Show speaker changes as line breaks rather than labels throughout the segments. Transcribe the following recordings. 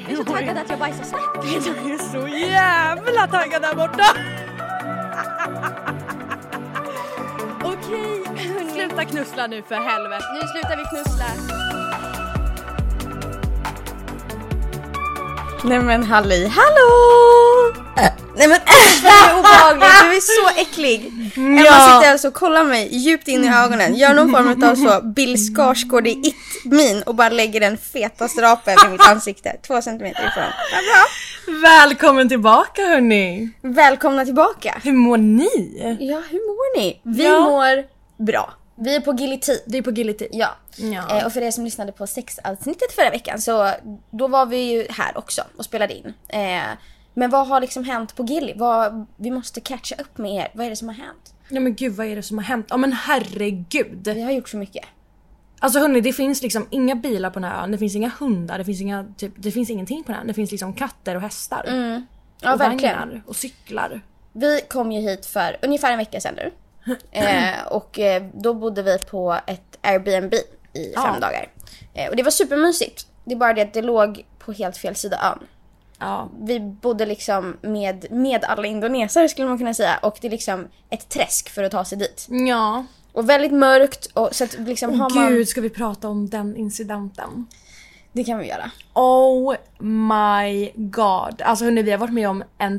Jag är så taggad att jag bajsar snabbt.
Jag är så jävla taggad där borta!
Okej, hörni.
Sluta knussla nu för helvete.
Nu slutar vi knussla.
Nej men halli hallå! Äh, Nej men usch vad du är obehaglig, du är så äcklig! Emma sitter alltså och kollar mig djupt in i ögonen, gör någon form av så Bill Skarsgård i It-min och bara lägger den fetaste rapen i mitt ansikte, två centimeter ifrån. Vad bra!
Välkommen tillbaka hörni!
Välkomna tillbaka!
Hur mår ni?
Ja, hur mår ni? Vi
Ja.
mår bra. Vi är på guillotine.
Vi är på Guillotine.
Ja.
Ja.
Eh, och för er som lyssnade på sexavsnittet förra veckan så då var vi ju här också och spelade in. Eh, men vad har liksom hänt på Gilly? Vad, vi måste catcha upp med er. Vad är det som har hänt?
Nej men gud vad är det som har hänt? Ja men herregud!
Vi har gjort så mycket.
Alltså hörni det finns liksom inga bilar på den här ön, det finns inga hundar, det finns, inga, typ, det finns ingenting på den här. Det finns liksom katter och hästar.
Ja,
och
verkligen.
vagnar och cyklar.
Vi kom ju hit för ungefär en vecka sedan nu. Eh, och eh, då bodde vi på ett Airbnb i fem
Ja.
dagar. Eh, och det var supermysigt. Det är bara det att det låg på helt fel sida ön.
Ja.
vi bodde liksom med, med alla indonesare skulle man kunna säga och det är liksom ett träsk för att ta sig dit.
Ja.
Och väldigt mörkt och så att liksom har man...
Gud ska vi prata om den incidenten?
Det kan vi göra.
Oh my god. Alltså hörni vi har varit med om en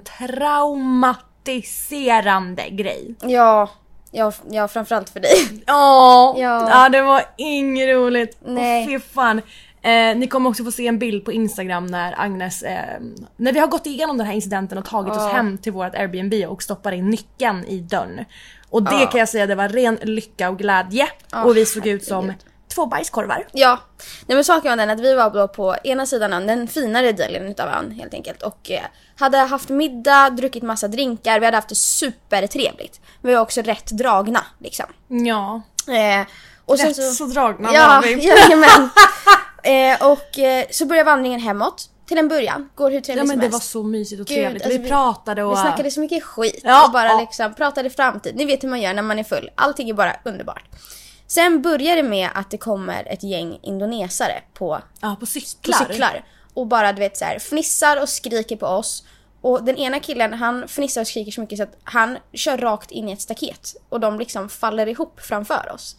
traumatiserande grej.
Ja, ja, ja framförallt för dig.
Åh,
Ja.
ja. det var inget roligt.
Nej.
Nej. Fy fan. Eh, ni kommer också få se en bild på Instagram när Agnes, eh, när vi har gått igenom den här incidenten och tagit oss hem till vårt Airbnb och stoppar in nyckeln i dörren. Och det kan jag säga det var ren lycka och glädje och vi såg ut som två bajskorvar.
Ja. Nej men saken var den att vi var då på ena sidan ön, den finare delen utav ön helt enkelt och eh, hade haft middag, druckit massa drinkar, vi hade haft det supertrevligt. Vi var också rätt dragna liksom.
Ja,
Eh, och sen
rätt så, dragna
Ja,
var vi.
jajamän. eh, och eh, så börjar vandringen hemåt. Till en början. Går hur trevligt
Ja men
som
det
helst.
var så mysigt och
liksom Gud,
trevligt.
alltså, vi-
vi pratade och...
Vi snackade så mycket skit
Ja,
och bara
ja.
liksom pratade framtid. Ni vet hur man gör när man är full. Allting är bara underbart. Sen börjar det med att det kommer ett gäng indonesare på,
ja, på
på
cyklar.
cyklar. Och bara du vet så här, fnissar och skriker på oss. Och den ena killen han fnissar och skriker så mycket så att han kör rakt in i ett staket. Och de liksom faller ihop framför oss.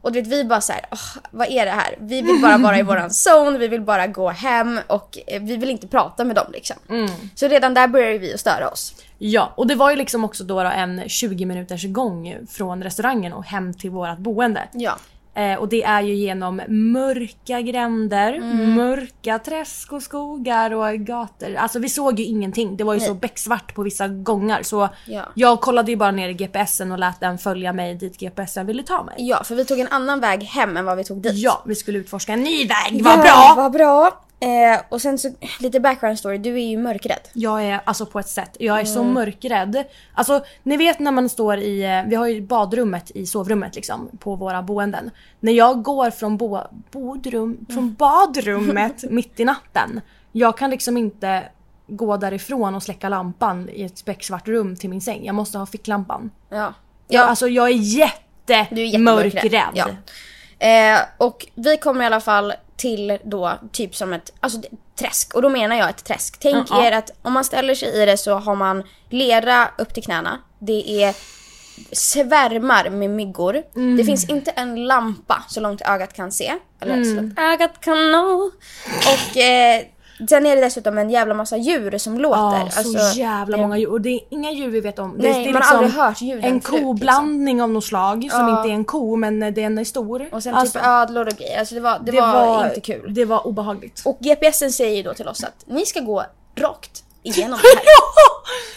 Och du vet, vi bara så här, "Åh, vad är det här? Vi vill bara vara i våran zone, vi vill bara gå hem och eh, vi vill inte prata med dem liksom.
Mm.
Så redan där började vi att störa oss.
Ja, och det var ju liksom också då, då en 20 minuters gång från restaurangen och hem till vårt boende.
Ja.
Eh, och det är ju genom mörka gränder,
Mm.
mörka träsk och skogar och gator. Alltså vi såg ju ingenting. Det var ju så becksvart på vissa gångar så
Ja.
jag kollade ju bara ner i GPSen och lät den följa mig dit GPSen ville ta mig.
Ja, för vi tog en annan väg hem än vad vi tog dit.
Ja, vi skulle utforska en ny väg, vad
Ja,
bra!
Vad bra! Eh, och sen så lite background story, du är ju mörkrädd.
Jag är alltså på ett sätt, jag är så
Mm.
mörkrädd. Alltså ni vet när man står i, eh, vi har ju badrummet i sovrummet liksom på våra boenden. När jag går från, bo,
Mm.
bodrum, från badrummet mitt i natten, jag kan liksom inte gå därifrån och släcka lampan i ett becksvart rum till min säng. Jag måste ha ficklampan.
Ja.
Ja. Alltså jag är
Du är
jättemörkrädd.
jättemörkrädd. Ja. Eh, och vi kommer i alla fall till då typ som ett alltså, det- träsk. Och då menar jag ett träsk. Tänk
Ja.
er att om man ställer sig i det så har man lera upp till knäna. Det är svärmar med myggor.
Mm.
Det finns inte en lampa så långt ögat kan se. Eller
Mm.
så långt ögat kan nå. Och eh, sen är det dessutom en jävla massa djur som låter.
Ja, så
Alltså,
jävla
det-
många djur. Och det är inga djur vi vet om. det,
Nej,
det är liksom
man har aldrig hört ljuden
En
förut,
koblandning av något slag som
Ja.
inte är en ko men eh, den är stor.
Och sen
Alltså,
typ ödlor och grejer. Alltså det var, det var, inte kul.
Det var obehagligt.
Och GPSen säger ju då till oss att ni ska gå rakt igenom det här.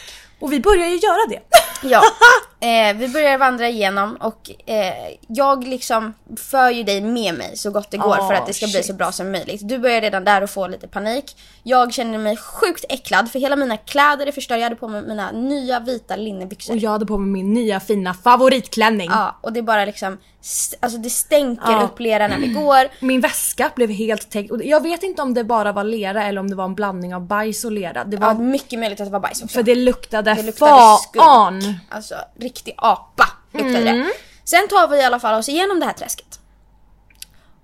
Och vi börjar ju göra det.
Ja. Eh, vi börjar vandra igenom och eh, jag liksom för ju dig med mig så gott det går
Ah,
för att det ska bli
shit.
så bra som möjligt. Du börjar redan där och få lite panik. Jag känner mig sjukt äcklad för hela mina kläder är förstörda. Jag hade på mig mina nya vita linnebyxor.
Och jag hade på mig min nya fina favoritklänning.
Ja, och det är bara liksom, st- alltså det stänker
Ja.
upp lera när vi går.
Min väska blev helt täckt. Och jag vet inte om det bara var lera eller om det var en blandning av bajs och lera. Det var,
Ja, mycket möjligt att det var bajs också.
För det luktade,
Det luktade
fan!
skunk. Alltså riktig apa luktade
Mm.
det. Sen tar vi i alla fall oss igenom det här träsket.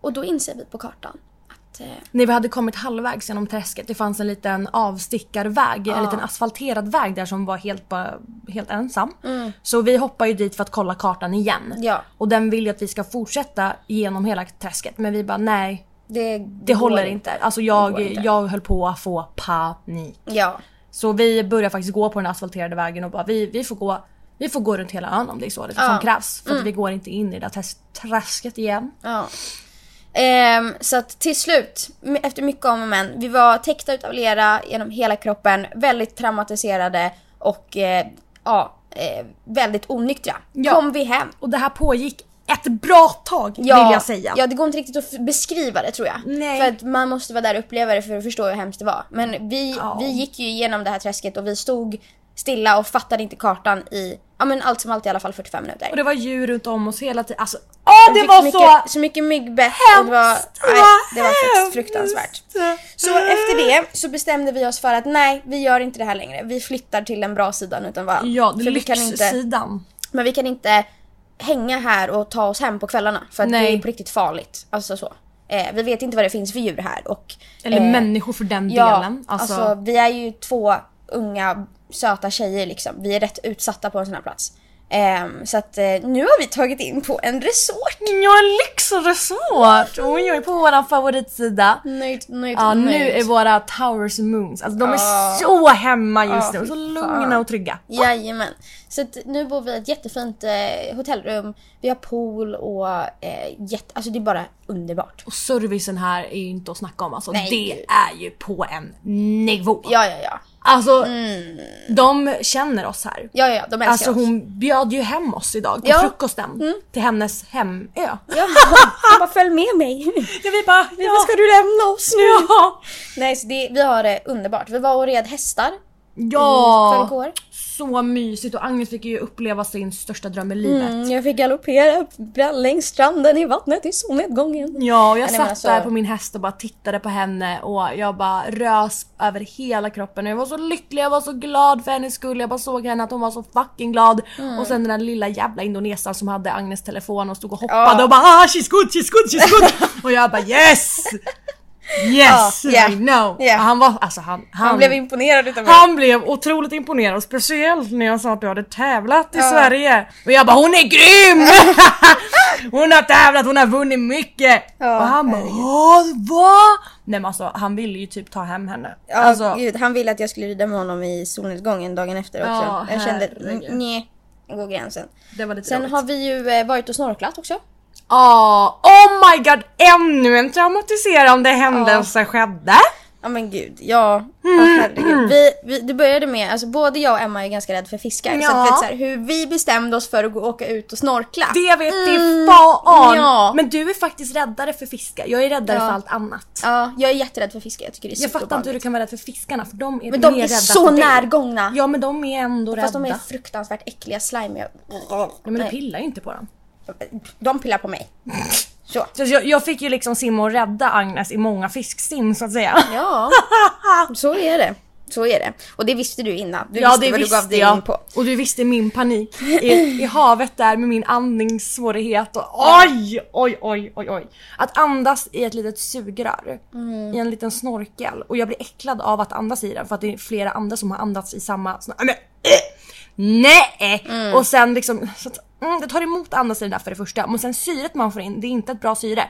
Och då inser vi på kartan att eh,
När vi hade kommit halvvägs genom träsket, det fanns en liten avstickarväg, en liten asfalterad väg där som var helt, bara, helt ensam. Så vi hoppar ju dit för att kolla kartan igen.
Mm. Ja.
Och den vill ju att vi ska fortsätta genom hela träsket men vi bara nej,
det, det,
det
går
håller inte. Alltså
går
jag,
inte.
jag höll på att få panik.
Ja.
Så vi börjar faktiskt gå på den asfalterade vägen och bara vi, vi får gå vi får gå runt hela ön om det är så det som krävs.
Mm.
För att vi går inte in i det där träs- träsket igen.
ja. Ehm, så att till slut, m- efter mycket om och men, vi var täckta utav lera genom hela kroppen, väldigt traumatiserade och eh, ja, eh, väldigt onyktra.
Ja.
Kom vi hem.
Och det här pågick ett bra tag vill jag säga.
Ja, det går inte riktigt att f- beskriva det tror jag.
Nej.
För att man måste vara där och uppleva det för att förstå hur hemskt det var. Men vi,
Ja.
vi gick ju igenom det här träsket och vi stod stilla och fattade inte kartan i, ja men allt som allt i alla fall 45 minuter.
Och det var djur runt om oss hela tiden. Alltså, åh det
Vi
var
fick
så!
mycket, så mycket myggbett och det var,
hemskt!
nej, det var faktiskt
hemskt!
fruktansvärt. Så
eh,
efter det så bestämde vi oss för att nej, vi gör inte det här längre. Vi flyttar till den bra sidan utan varann.
Ja,
för vi kan inte,
lyxsidan.
men vi kan inte hänga här och ta oss hem på kvällarna för att
Nej.
det är på riktigt farligt. Alltså så. Eh, vi vet inte vad det finns för djur här och...
Eller
eh,
människor för den
Ja,
delen. Alltså,
alltså... vi är ju två unga söta tjejer liksom. Vi är rätt utsatta på en sån här plats. Eh, så att eh, nu har vi tagit in på en resort.
Ja, lyxresort! Oj, oj, på våran favoritsida.
Nöjt, nöjt,
Ja, nu
nöjt.
är våra Towers and Moons, alltså de är
Ja.
så hemma just
Ja,
nu. Så
fy
lugna
fan.
och trygga.
Jajamän. Så att nu bor vi i ett jättefint eh, hotellrum. Vi har pool och eh, jätte... Alltså det är bara underbart.
Och servicen här är ju inte att snacka om alltså.
Nej.
Det är ju på en nivå.
Ja, ja, ja.
Alltså, de känner oss här.
Ja, ja, ja. De älskar
Alltså
oss.
hon bjöd ju hem oss idag på
Ja. Mm.
frukosten till hennes hemö.
Ja, han bara följ med mig.
Ja, vi bara, ja.
Varför ska du lämna oss nu?
Ja!
Nej, så det, vi har det underbart. Vi var och red hästar Mm, i
ja.
förrgår.
Så mysigt och Agnes fick ju uppleva sin största dröm i livet.
Mm, Jag fick galoppera längs stranden i vattnet i solnedgången.
Ja, och jag
men
satt
alltså-
där på min häst och bara tittade på henne och jag bara rös över hela kroppen och jag var så lycklig, jag var så glad för hennes skull. Jag bara såg henne att hon var så fucking glad.
Mm.
Och sen den där lilla jävla indonesaren som hade Agnes telefon och stod och hoppade
Ja.
och bara ah, she's good, she's good, she's good. och jag bara yes! Yes!
Ja, yeah,
I know!
yeah.
Han var, alltså han, han,
Han blev imponerad utav mig.
han blev otroligt imponerad och speciellt när jag sa att du hade tävlat i Sverige. Och jag bara hon är grym! hon har tävlat, hon har vunnit mycket!
Ja,
och han bara "Åh, vad? Nej men alltså han ville ju typ ta hem henne.
Ja,
alltså,
gud, han ville att jag skulle rida med honom i solnedgången dagen efter också.
Ja,
jag kände,
herregud.
nej, går gränsen.
det var lite
Sen
jobbigt.
har vi ju eh, varit och snorklat också.
Ja, oh my god ännu en traumatiserande händelse skedde.
Ja men gud, ja. Åh,
Mm.
herregud. Vi, vi, det började med, alltså både jag och Emma är ganska rädd för fiskar. Så
Ja.
att, vet, så här, hur vi bestämde oss för att gå, åka ut och snorkla.
Det vet i fan!
ja.
Men du är faktiskt räddare för fiskar, jag är räddare
Ja.
för allt annat.
Ja, jag är jätterädd för fiskar. Jag tycker det är
Jag fattar inte hur du
superobehagligt.
kan vara rädd för fiskarna för de är
Men de
mer
är
rädda
så
för dig.
närgångna.
Ja men de är ändå
Fast
rädda.
de är fruktansvärt äckliga, slimiga.
ja, men du pillar ju inte på dem.
De pillar på mig. Så.
Så jag, jag fick ju liksom simma och rädda Agnes i många fisksim så att säga.
Ja, så är det. Så är det. Och det visste du innan. Du
ja
visste
det
vad du gav
visste
dig in
jag.
på.
Och du visste min panik i, i havet där med min andningssvårighet och oj, oj, oj, oj, oj. Att andas i ett litet sugrör
Mm.
i en liten snorkel och jag blir äcklad av att andas i den för att det är flera andra som har andats i samma snor- Men, eh, Nej!
Mm.
Och sen liksom, så att, mm, det tar emot att andas i den där för det första men sen syret man får in, det är inte ett bra syre.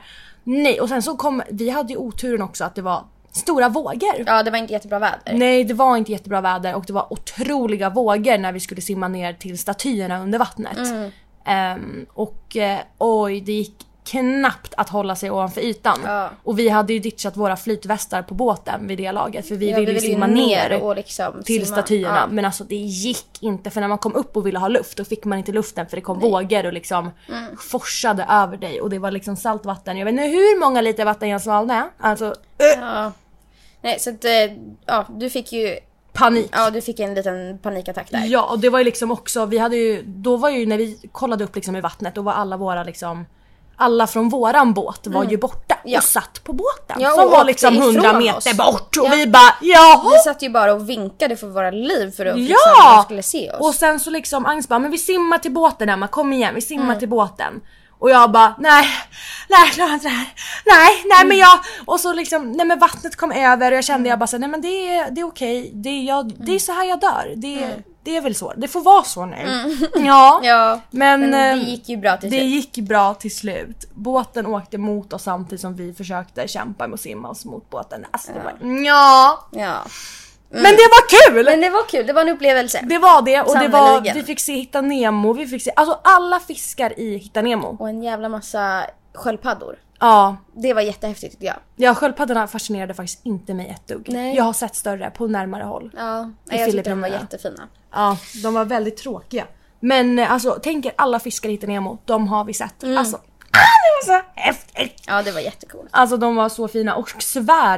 Nej och sen så kom, vi hade ju oturen också att det var stora vågor.
Ja, det var inte jättebra väder.
Nej, det var inte jättebra väder och det var otroliga vågor när vi skulle simma ner till statyerna under vattnet.
Mm.
Ehm, och eh, oj, det gick knappt att hålla sig ovanför ytan.
Ja.
Och vi hade ju ditchat våra flytvästar på båten vid det laget för vi
Ja,
ville ju
ville ju
simma ner,
och liksom
till
simma.
statyerna.
Ja.
Men alltså det gick inte för när man kom upp och ville ha luft då fick man inte luften för det kom vågor och liksom
Mm.
forsade över dig och det var liksom saltvatten. Jag vet inte hur många liter vatten jag svalde. Alltså
Ja. Nej, så att, eh, ja, du fick ju
panik.
ja, du fick en liten panikattack där.
Ja och det var ju liksom också, vi hade ju, då var ju när vi kollade upp liksom i vattnet då var alla våra liksom alla från våran båt var ju borta
Mm. Ja.
och satt på båten
Ja, och
som
åkte
var liksom 100
ifrån
meter
oss.
bort och
Ja.
vi bara jaha!
Vi satt ju bara och vinkade för våra liv för att liksom,
Ja!
de skulle se oss.
Och sen så liksom Agnes bara men vi simmar till båten Emma kom igen vi simmar
Mm.
till båten. Och jag bara nej, nej jag klarar inte det här. Nej, nej
Mm.
men jag... Och så liksom, nej men vattnet kom över och jag kände jag bara så, här, nej men det är, det är okej. Det, är jag, det
Mm.
är så här jag dör. Det, det är väl så. Det får vara så nu. Ja.
Mm. Ja,
Men,
men det
eh,
gick ju bra till
det
slut.
gick bra till slut. Båten åkte mot oss samtidigt som vi försökte kämpa med att simma oss mot båten. Alltså, det var, ja.
Ja.
Men det var kul!
Mm. Men det var kul, det var en upplevelse.
Det var det och det var,
Sannerligen.
vi fick se Hitta Nemo, vi fick se, alltså alla fiskar i Hitta Nemo.
Och en jävla massa sköldpaddor.
Ja,
Det var jättehäftigt tyckte jag.
ja sköldpaddorna fascinerade faktiskt inte mig ett dugg.
Nej.
Jag har sett större på närmare håll.
Ja,
I
jag tyckte de var
Filippinerna.
jättefina.
Ja, de var väldigt tråkiga. Men eh, alltså tänk er alla fiskar i Hitta Nemo, de har vi sett.
Mm.
Alltså, ah, det var så häftigt!
Ja, det var jättecoolt.
Alltså de var så fina och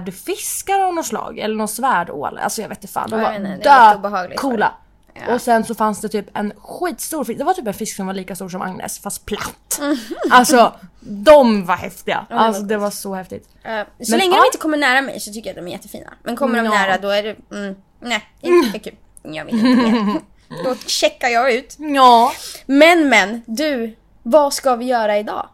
svärdfiskar av något slag eller någon svärdål. Alltså jag vet inte fan. De
Ja, jag
var
menar, det är lite obehagligt för
coola.
det. Ja.
Och sen så fanns det typ en skitstor fisk. Det var typ en fisk som var lika stor som Agnes fast platt. Alltså de var häftiga.
var
alltså det var så häftigt.
Eh, så
Men,
länge
ja.
de inte kommer nära mig så tycker jag att de är jättefina. Men kommer de
Ja.
nära då är det... Mm, nej, inte lika kul. Mm, Jag vill inte mer. Då checkar jag ut.
Ja.
Men men, du. Vad ska vi göra idag?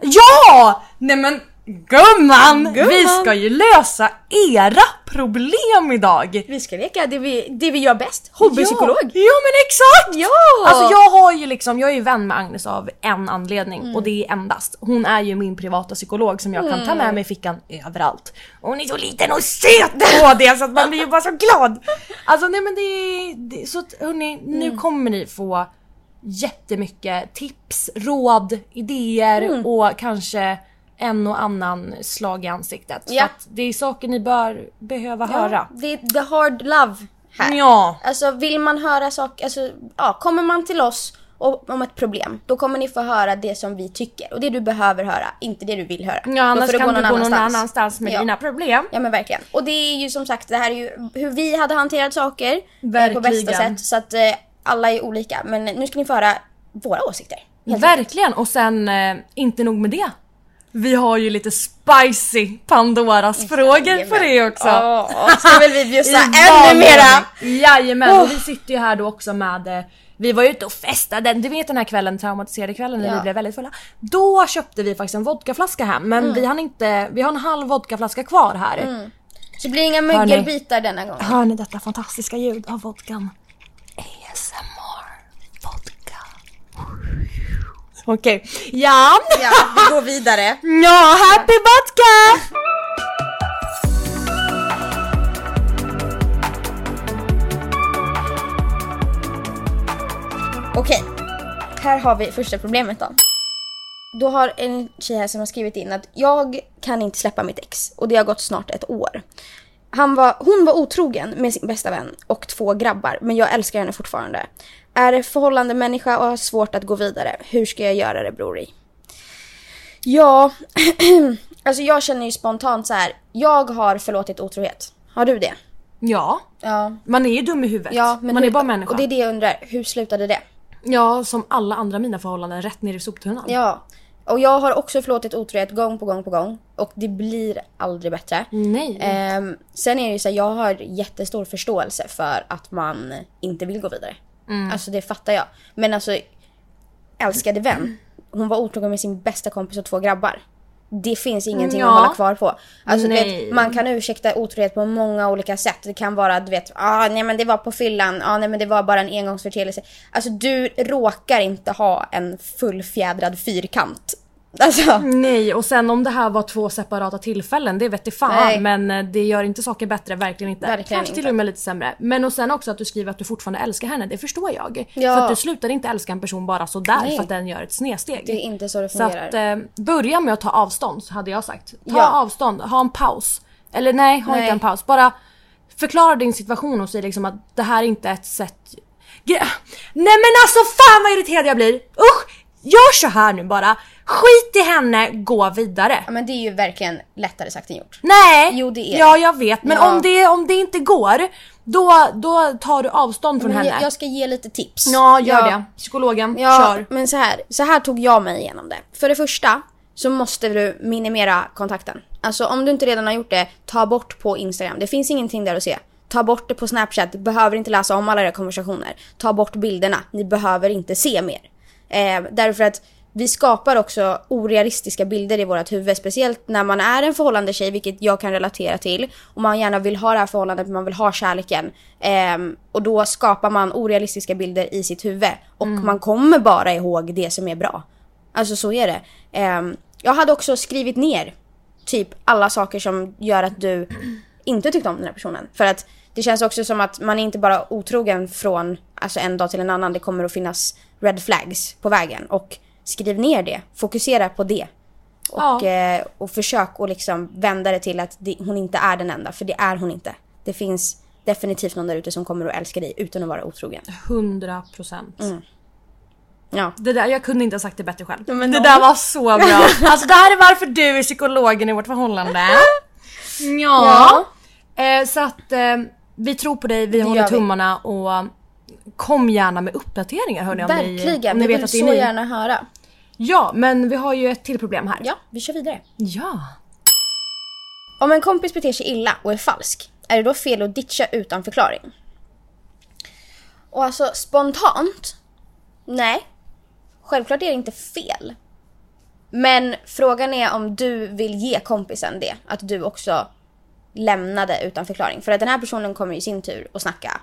Ja! Nej men gumman! Vi ska ju lösa era problem idag.
Vi ska leka det vi, det vi gör bäst. Hobbypsykolog.
Ja, ja men exakt!
Ja!
Alltså jag har ju liksom, jag är ju vän med Agnes av en anledning
Mm.
och det är endast. Hon är ju min privata psykolog som jag kan ta
Mm.
med mig i fickan överallt. Och hon är så liten och söt på det så att man blir ju bara så glad. Alltså nej men det är, det, så att, hörni, nu
Mm.
kommer ni få jättemycket tips, råd, idéer
Mm.
och kanske en och annan slag i ansiktet.
Ja.
Så att det är saker ni bör behöva höra.
Det är the hard love här.
Ja.
Alltså vill man höra saker, alltså ja, kommer man till oss och, om ett problem, då kommer ni få höra det som vi tycker och det du behöver höra, inte det du vill höra. Då
Ja annars
får
kan du gå någon annanstans med
ja.
dina problem.
Ja men verkligen. Och det är ju som sagt, det här är ju hur vi hade hanterat saker eh, på
Verkligen.
bästa sätt. Så att eh, alla är olika. Men nu ska ni få höra våra åsikter.
Verkligen och sen eh, inte nog med det. Vi har ju lite spicy Pandoras frågor för er också.
Oh, ska väl vi
I
bjussa ännu
vanlig
mera?
ordning. Jajamän och vi sitter ju här då också med eh, vi var ju ute och festade, du vet den här kvällen, traumatiserade kvällen när
Ja.
vi blev väldigt fulla. Då köpte vi faktiskt en vodkaflaska hem men vi hann inte, vi har en halv vodkaflaska kvar här.
Så blir det inga
Hörni.
mögelbitar denna gång.
Hör ni detta fantastiska ljud av vodkan? ASMR vodka. Okej, ja.
Ja, vi går vidare.
Ja, happy vodka!
Okej, här har vi första problemet då. Då har en tjej här som har skrivit in att jag kan inte släppa mitt ex och det har gått snart ett år. Han var, hon var otrogen med sin bästa vän och två grabbar men jag älskar henne fortfarande. Är förhållande människa och har svårt att gå vidare. Hur ska jag göra det brori? Ja, alltså jag känner ju spontant så här. Jag har förlåtit otrohet. Har du det?
Ja,
Ja.
man är ju dum i huvudet.
ja men
man
hur,
är bara människa.
Och det är det jag undrar. Hur slutade det?
Ja, som alla andra mina förhållanden, rätt ner i soptunnan.
Ja. Och jag har också förlåtit otrohet gång på gång på gång. Och det blir aldrig bättre.
Nej.
Ehm, sen är det ju så här, jag har jättestor förståelse för att man inte vill gå vidare.
Mm.
Alltså det fattar jag. Men alltså, älskade vän. Hon var otrogen med sin bästa kompis och två grabbar. Det finns ingenting
Ja.
att hålla kvar på. Alltså, du
Nej.
vet, man kan ursäkta otrohet på många olika sätt. Det kan vara du vet, ah, nej men det var på fyllan, ah, nej men det var bara en engångsförteelse. Alltså du råkar inte ha en fullfjädrad fyrkant. Alltså,
Nej, och sen om det här var två separata tillfällen, det vet jag fan.
Nej.
Men eh, det gör inte saker bättre, verkligen inte.
Verkligen
Kanske till
inte.
och med lite sämre. Men och sen också att du skriver att du fortfarande älskar henne, det förstår jag.
Ja.
För att du slutar inte älska en person bara sådär
Nej.
för att den gör ett snedsteg.
det är inte så det
Så
fungerar.
att, eh, börja med att ta avstånd hade jag sagt. Ta
Ja.
avstånd, ha en paus. Eller nej, ha
Nej.
inte en paus. Bara förklara din situation och säg liksom att det här är inte ett sätt... Gre- nej men alltså fan vad irriterad jag blir! Usch! Gör så här nu bara. Skit i henne, gå vidare.
Ja, men det är ju verkligen lättare sagt än gjort.
Nej!
Jo, det är
Ja
det.
jag vet men
Ja.
om, det, om det inte går då, då tar du avstånd från
Men
henne.
jag, jag ska ge lite tips.
Ja gör
Ja.
det. Psykologen,
Ja,
kör.
men så här, så här tog jag mig igenom det. För det första så måste du minimera kontakten. Alltså om du inte redan har gjort det, ta bort på Instagram. Det finns ingenting där att se. Ta bort det på Snapchat, Du behöver inte läsa om alla era konversationer. Ta bort bilderna, ni behöver inte se mer. Eh, därför att vi skapar också orealistiska bilder i vårt huvud, speciellt när man är en förhållande tjej, vilket jag kan relatera till, och man gärna vill ha det här förhållandet, man vill ha kärleken. Ehm, och då skapar man orealistiska bilder i sitt huvud och man kommer bara ihåg det som är bra. Alltså så är det. Ehm, jag hade också skrivit ner typ alla saker som gör att du inte tyckte om den här personen. För att det känns också som att man är inte bara otrogen från alltså en dag till en annan. Det kommer att finnas red flags på vägen. Och skriv ner det. Fokusera på det. Och,
Ja.
eh, och försök att liksom vända det till att det, hon inte är den enda. För det är hon inte. Det finns definitivt någon där ute som kommer att älska dig utan att vara otrogen.
100%. procent.
Ja.
Det där, jag kunde inte ha sagt det bättre själv.
men
det
då.
där var så bra. Alltså det här är varför du är psykologen i vårt förhållande. Ja. Eh, så att eh, vi tror på dig, vi håller
gör vi.
tummarna och kom gärna med uppdateringar hörni om ni,
Verkligen.
om ni
vi
vet
vill
att det är
så
ni.
gärna höra.
Ja men vi har ju ett till problem här.
Ja, vi kör vidare.
ja.
Om en kompis beter sig illa och är falsk, är det då fel att ditcha utan förklaring? Och alltså spontant? Nej. Självklart är det inte fel. Men frågan är om du vill ge kompisen det. Att du också lämnade utan förklaring. För att den här personen kommer i sin tur att snacka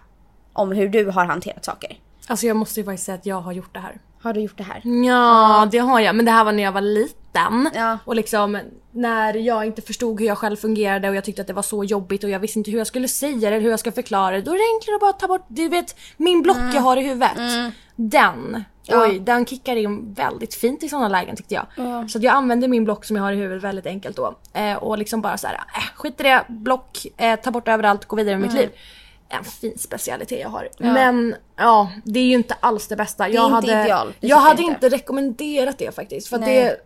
om hur du har hanterat saker.
Alltså jag måste ju faktiskt säga att jag har gjort det här.
Har du gjort det här?
Ja, det har jag. Men det här var när jag var liten.
Ja.
Och liksom när jag inte förstod hur jag själv fungerade och jag tyckte att det var så jobbigt och jag visste inte hur jag skulle säga det eller hur jag skulle förklara det. Då är det enklare att bara ta bort, du vet, min block jag har i huvudet. Den. Oj, den kickar in väldigt fint i sådana lägen tyckte jag. Så att jag använder min block som jag har i huvudet väldigt enkelt då. Eh, och liksom bara så här, äh, skit i det, block, eh, ta bort det överallt, gå vidare med mitt liv. En fin specialitet jag har. Men ja, det är ju inte alls det bästa. jag
inte
hade,
ideal, det
Jag
tycker
hade
jag
inte
inte.
rekommenderat det faktiskt. För att
Nej.
det,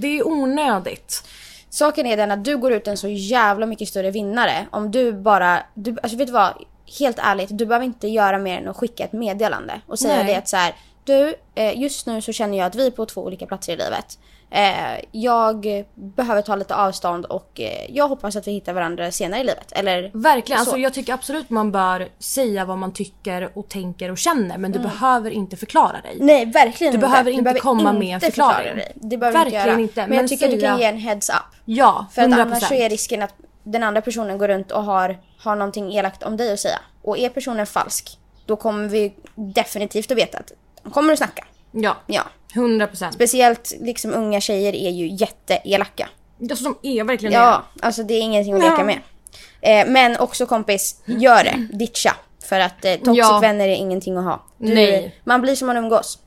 det är onödigt.
Saken är den att du går ut en så jävla mycket större vinnare om du bara, du, alltså vet du vad? Helt ärligt, du behöver inte göra mer än att skicka ett meddelande och säga
Nej.
det att så här, du, eh, just nu så känner jag att vi är på två olika platser i livet. Eh, Jag behöver ta lite avstånd och eh, jag hoppas att vi hittar varandra senare i livet. Eller
Verkligen. Alltså,
Så.
jag tycker absolut man bör säga vad man tycker och tänker och känner. Men du behöver inte förklara dig.
Nej, verkligen
Du
inte.
behöver inte komma med en
förklara
förklaring.
dig. Det behöver du
Verkligen
inte göra.
inte,
Men jag
men
tycker att du kan
säga-
ge en heads up.
Ja, 100%.
För att annars så är risken att den andra personen går runt och har, har någonting elakt om dig att säga. Och är personen falsk, då kommer vi definitivt att veta att de kommer att snacka.
Ja,
Ja.
100%.
Speciellt liksom unga tjejer är ju jätteelaka.
Alltså de är verkligen
Ja, alltså det är ingenting att leka med. Eh, men också kompis, gör det. Ditcha. För att eh, toxic
Ja.
vänner är ingenting att ha. Du,
Nej.
Man blir som man umgås.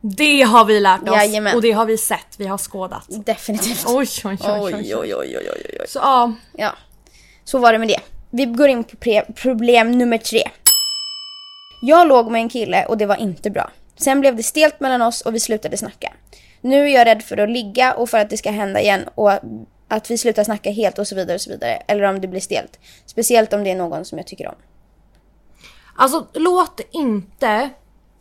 det. Det har vi lärt oss.
Jajamän.
Och det har vi sett. Vi har skådat.
Definitivt.
Oj, oj, oj. oj, oj.
oj, oj, oj, oj, oj, oj.
Så ja.
Ja, så var det med det. Vi går in på pre- problem nummer tre. Jag låg med en kille och det var inte bra. Sen blev det stelt mellan oss och vi slutade snacka. Nu är jag rädd för att ligga och för att det ska hända igen och att vi slutar snacka helt och så vidare och så vidare. Eller om det blir stelt. Speciellt om det är någon som jag tycker om.
Alltså låt inte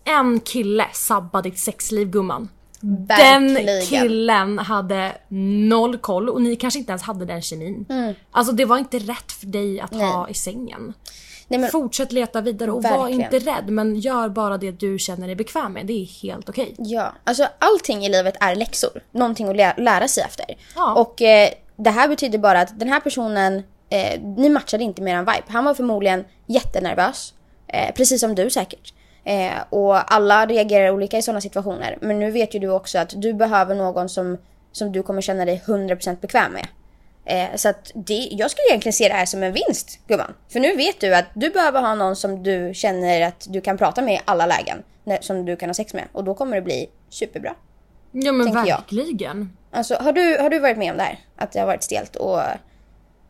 en kille sabba ditt sexliv gumman. Den
Verkligen.
killen hade noll koll och ni kanske inte ens hade den kemin.
Mm.
Alltså det var inte rätt för dig att ha i sängen.
Nej, men,
Fortsätt leta vidare och var
Verkligen.
inte rädd men gör bara det du känner dig bekväm med. Det är helt okej.
Ja, alltså allting i livet är läxor. Någonting att lä- lära sig efter.
Ja.
Och eh, det här betyder bara att den här personen, eh, ni matchade inte med en vibe. Han var förmodligen jättenervös. Eh, precis som du säkert. Eh, och alla reagerar olika i sådana situationer. Men nu vet ju du också att du behöver någon som, som du kommer känna dig 100% bekväm med. Eh, så att det, jag skulle egentligen se det här som en vinst, gumman. För nu vet du att du behöver ha någon som du känner att du kan prata med i alla lägen. När, som du kan ha sex med. Och då kommer det bli superbra.
Ja men
Tänker jag.
verkligen.
Alltså, har du, har du varit med om det här? Att det har varit stelt och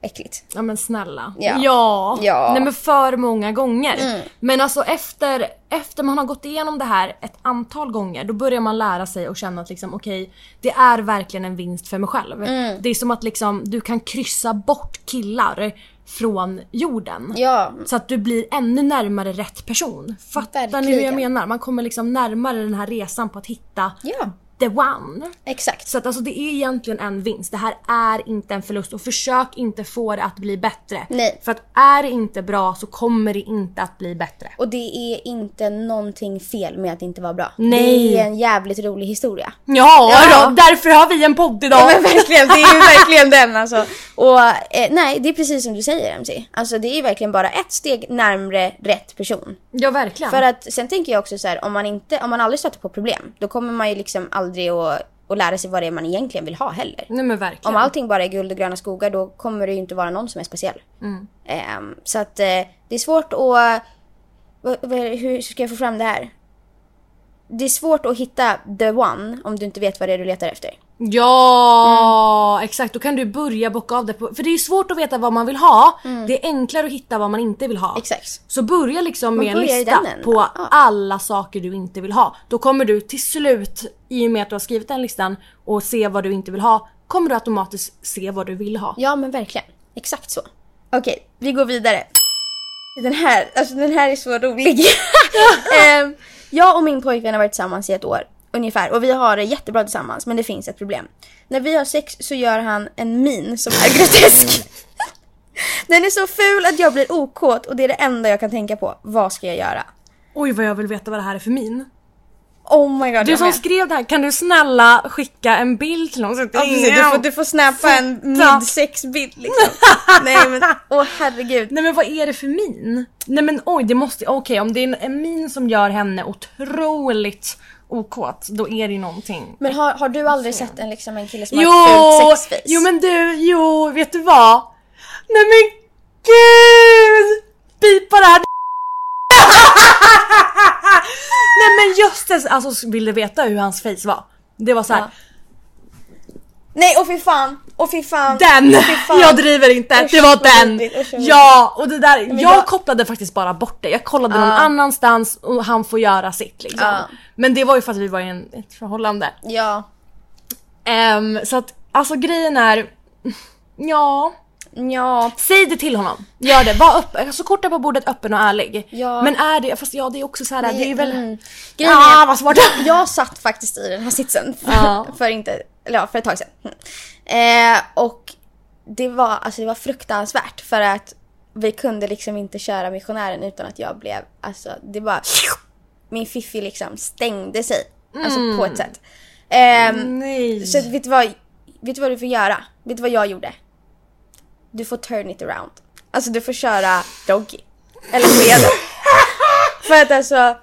äckligt?
Ja men snälla.
Ja.
Ja.
Ja. Mm.
Nej men för många gånger. Men alltså efter, efter man har gått igenom det här ett antal gånger då börjar man lära sig och känna att liksom okej det är verkligen en vinst för mig själv.
Mm.
Det är som att liksom du kan kryssa bort killar från jorden.
Ja.
Så att du blir ännu närmare rätt person. Fattar ni hur jag
Verkligen.
menar? Man kommer liksom närmare den här resan på att hitta
Ja.
the one.
Exakt.
Så att alltså det är egentligen en vinst. Det här är inte en förlust och försök inte få det att bli bättre.
Nej.
För att är det inte bra så kommer det inte att bli bättre.
Och det är inte någonting fel med att inte vara bra.
Nej.
Det är en jävligt rolig historia.
Ja,
Ja.
Då, därför har vi en podd idag!
Men verkligen, det är ju verkligen den alltså. Och eh, nej, det är precis som du säger MC. Alltså det är verkligen bara ett steg närmre rätt person.
ja verkligen.
För att sen tänker jag också så här, om man, inte, om man aldrig stöter på problem, då kommer man ju liksom aldrig att, att lära sig vad det är man egentligen vill ha heller.
Nej men verkligen.
Om allting bara är guld och gröna skogar då kommer det ju inte vara någon som är speciell. Ehm, så att eh, det är svårt att... vad- vad är det- hur ska jag få fram det här? Det är svårt att hitta the one om du inte vet vad det är du letar efter.
Ja,
Mm.
exakt. Då kan du börja bocka av det. På, för det är ju svårt att veta vad man vill ha. Det är enklare att hitta vad man inte vill ha.
Mm. Exakt.
Så börja liksom med en
börjar i
lista
den änden.
på
Ja.
alla saker du inte vill ha. Då kommer du till slut, i och med att du har skrivit den listan och se vad du inte vill ha, kommer du automatiskt se vad du vill ha.
Ja men verkligen. Exakt så. Okej, vi går vidare. Den här, alltså den här är så rolig. Ehm, jag och min pojkvän har varit tillsammans i ett år ungefär och vi har det jättebra tillsammans men det finns ett problem. När vi har sex så gör han en min som är grotesk. Den är så ful att jag blir okåt och det är det enda jag kan tänka på. Vad ska jag göra?
Oj vad jag vill veta vad det här är för min.
Oh my god,
Du
jag
som
med.
skrev det här, kan du snälla skicka en bild till någon? Så att
Ja, precis, du, får, du får snappa en
Fota.
midsexbild liksom. Nej men, åh herregud.
Nej men vad är det för min? Nej men oj det måste, okej om det är en, en min som gör henne otroligt okåt då är det ju någonting.
Men har, har du aldrig sett en, liksom, en kille som
Jo!
har ett fult sexface?
Jo men du, jo vet du vad? Nej men gud! Pipa det här! Nej men jösses, alltså vill du veta hur hans face var? Det var så här.
Nej och fy fan, och fy fan.
Den!
Åh, fy fan.
Jag driver inte,
Usch,
det var
vad
den!
vidrigt, usch, vad
Ja, och det där, jag
jag-
kopplade faktiskt bara bort det. Jag kollade någon annanstans och han får göra sitt liksom.
Ja.
Men det var ju för att vi var i en, ett förhållande.
Ja,
Ehm, så att, alltså grejen är, ja.
ja.
Säg det till honom. Gör det. Var öppen. Alltså korta på bordet, öppen och ärlig.
Ja.
Men är det, fast ja det är också så här, det är ju väl...
Mm. Grejen
Ja,
är,
vad svårt.
jag satt faktiskt i den här sitsen för,
Ja.
för, inte, eller ja, för ett tag sedan. Mm. Eh, och det var, alltså, det var fruktansvärt för att vi kunde liksom inte köra missionären utan att jag blev, alltså det bara... Min fiffi liksom stängde sig. Alltså på
Mm.
ett sätt. Ehm,
Nej.
Så att, vet, du vad, vet du vad du får göra? Vet du vad jag gjorde? Du får turn it around. Alltså du får köra doggy. Eller med. För att alltså...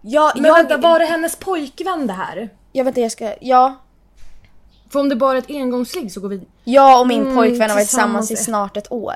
Jag,
Men
jag,
vänta, var det hennes pojkvän det här?
jag vänta, jag ska... Ja.
För om det bara är ett engångsligg så går vi...
Jag och min pojkvän har varit
Mm, tillsammans
tillsammans i snart ett år.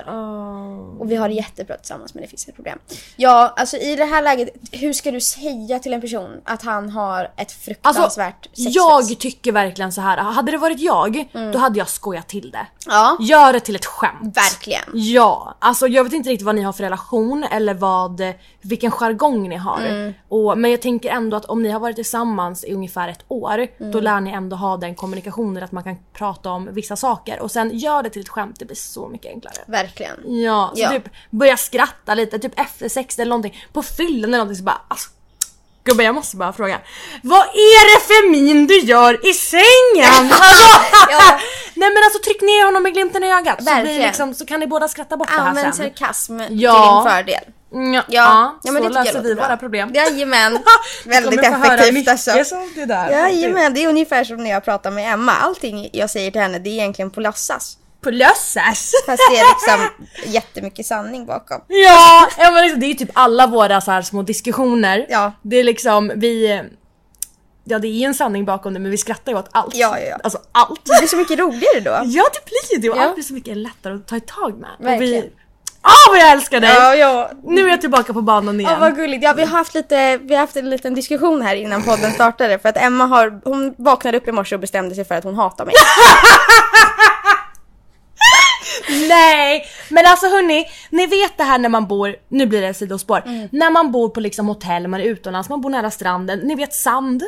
Och vi har det jättebra tillsammans men det finns ett problem. Ja, alltså i det här läget, hur ska du säga till en person att han har ett fruktansvärt sexfest?
Alltså, jag tycker verkligen så här. hade det varit jag, då hade jag skojat till det.
Mm. Ja,
Gör det till ett skämt.
verkligen.
Ja, alltså jag vet inte riktigt vad ni har för relation eller vad, vilken jargong ni har.
Mm.
Och, men jag tänker ändå att om ni har varit tillsammans i ungefär ett år,
Mm.
då lär ni ändå ha den kommunikationen att man kan prata om vissa saker. Och sen gör det till ett skämt, det blir så mycket enklare.
Verkligen.
Ja, så
Ja.
typ börja skratta lite, typ efter sex eller någonting. På fyllan eller någonting så bara alltså, Gubben jag måste bara fråga. Vad är det för min du gör i sängen? Alltså,
Ja.
Nej men alltså tryck ner honom med glimten i ögat. Så, blir
Verkligen.
liksom, så kan ni båda skratta bort det här
Använd
sen.
sarkasm
Ja.
till din fördel.
Mm, Ja,
Ja, ja,
så
men det tycker jag
löser
låter
vi
bra.
våra problem.
Jajamän. Väldigt
Kommer få höra
effektivt
mycket
alltså.
sånt det där.
Jajamän, det är ungefär som när jag pratar med Emma. Allting jag säger till henne det är egentligen på låtsas.
På lösas.
Fast det är liksom jättemycket sanning bakom.
Ja, ja men liksom, det är ju typ alla våra så här små diskussioner.
Ja.
Det är liksom, vi... Ja det är ju en sanning bakom det men vi skrattar ju åt allt.
Ja, ja, ja.
Alltså allt.
Det blir så mycket roligare då.
Ja det blir det och
Ja.
allt blir så mycket lättare att ta i tag med. Och vi...
Verkligen.
Ah vad jag älskar dig!
Ja, ja.
Nu är jag tillbaka på banan igen.
Ja, vad gulligt. Ja, vi har haft lite, vi har haft en liten diskussion här innan podden startade för att Emma har, hon vaknade upp i morse och bestämde sig för att hon hatar mig.
Nej! Men alltså hörni, ni vet det här när man bor, nu blir det ett sidospår, när man bor på liksom hotell, man är utomlands, man bor nära stranden, ni vet sand.